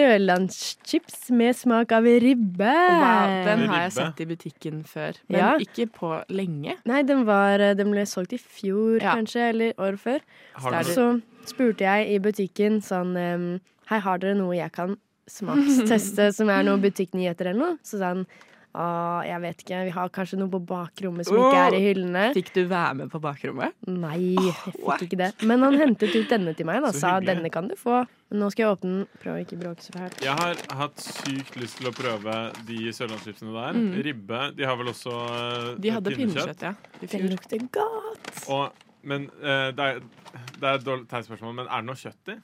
[SPEAKER 18] sørlandschips med smak av ribbe.
[SPEAKER 6] Wow, den har jeg sett i butikken før, men
[SPEAKER 18] Ja.
[SPEAKER 6] ikke på lenge.
[SPEAKER 18] Nei, den, var, eh, den ble solgt i fjor,
[SPEAKER 6] Ja.
[SPEAKER 18] kanskje, eller året før.
[SPEAKER 6] Har du-
[SPEAKER 18] Og Så spurte jeg i butikken sånn ehm, Hei, har dere noe jeg kan smaksteste som er noe butikknyheter eller noe? Så sa han Ah, jeg vet ikke. Vi har kanskje noe på bakrommet som ikke er i hyllene.
[SPEAKER 17] Fikk du være med på bakrommet?
[SPEAKER 6] Mm.
[SPEAKER 18] Nei, jeg fikk ikke det. Men han hentet ut denne til meg da,
[SPEAKER 11] Så
[SPEAKER 18] sa
[SPEAKER 11] hyggelig.
[SPEAKER 18] denne kan du få. Men nå skal jeg åpne den. Prøv å ikke bråke så fælt.
[SPEAKER 11] Jeg har hatt sykt lyst til å prøve de sørlandschipsene der.
[SPEAKER 18] Mm.
[SPEAKER 11] Ribbe. De har vel også eh,
[SPEAKER 6] De hadde pinnekjøtt, ja. i
[SPEAKER 18] Den
[SPEAKER 6] fjor.
[SPEAKER 18] lukter godt.
[SPEAKER 11] Og, men eh, det er, det er et dårlig teit spørsmål, men er det noe kjøtt i?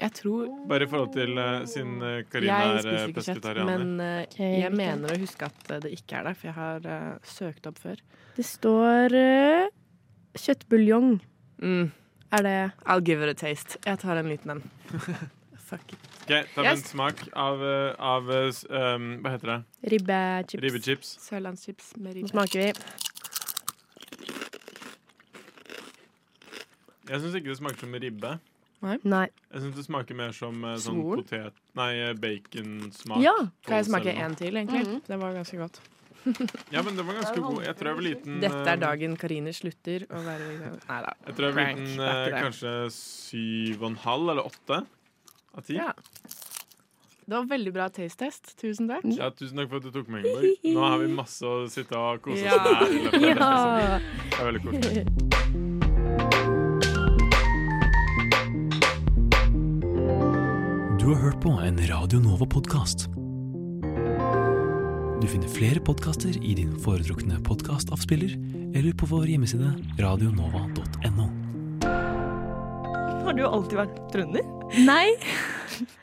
[SPEAKER 6] Jeg tror
[SPEAKER 11] Bare i forhold til eh, siden eh, Karina
[SPEAKER 6] Jeg
[SPEAKER 11] er
[SPEAKER 6] spiser
[SPEAKER 11] eh,
[SPEAKER 6] ikke kjøtt,
[SPEAKER 11] pesketarianer.
[SPEAKER 6] men eh, jeg mener å huske at eh, det ikke er det, for jeg har eh, søkt opp før.
[SPEAKER 18] Det står eh, kjøttbuljong.
[SPEAKER 6] Mm.
[SPEAKER 18] Er det
[SPEAKER 6] I'll give it a taste. Jeg tar en liten en. Fuck it.
[SPEAKER 11] Ok, ta med en smak av, eh, av eh, s- um, Hva heter det?
[SPEAKER 18] Ribbechips.
[SPEAKER 11] Ribbechips.
[SPEAKER 6] Sørlandschips
[SPEAKER 18] Nå
[SPEAKER 6] med ribbe.
[SPEAKER 18] smaker vi.
[SPEAKER 11] Jeg syns ikke det smaker som ribbe.
[SPEAKER 6] Nei.
[SPEAKER 18] Nei.
[SPEAKER 11] Jeg syns det smaker mer som eh, sånn
[SPEAKER 6] Svor?
[SPEAKER 11] potet... Nei, eh, baconsmak.
[SPEAKER 6] Ja, Mm-hmm. kan jeg
[SPEAKER 11] Kål
[SPEAKER 6] smake
[SPEAKER 11] eller noe.
[SPEAKER 6] en til, egentlig? Det var ganske godt.
[SPEAKER 11] Ja, men den var ganske god. Jeg tror jeg var liten
[SPEAKER 6] Dette
[SPEAKER 11] eh,
[SPEAKER 6] er dagen Karine slutter å være Nei da.
[SPEAKER 11] Jeg tror jeg var
[SPEAKER 6] Prank.
[SPEAKER 11] liten
[SPEAKER 6] Det er
[SPEAKER 11] eh,
[SPEAKER 6] ikke det.
[SPEAKER 11] kanskje syv og en halv eller åtte av ti.
[SPEAKER 6] Ja. Det var veldig bra taste-test. Tusen takk.
[SPEAKER 11] Ja, tusen takk for at du tok med, Ingeborg. Nå har vi masse å sitte og kose oss
[SPEAKER 6] Ja.
[SPEAKER 11] med. i løpet av denne
[SPEAKER 6] Ja.
[SPEAKER 11] sesongen. Det er veldig koselig.
[SPEAKER 19] Du har hørt på en Radio Nova-podkast. Du finner flere podkaster i din foretrukne podkastavspiller eller på vår hjemmeside radionova.no.
[SPEAKER 8] Har du alltid vært trønder?
[SPEAKER 3] Nei.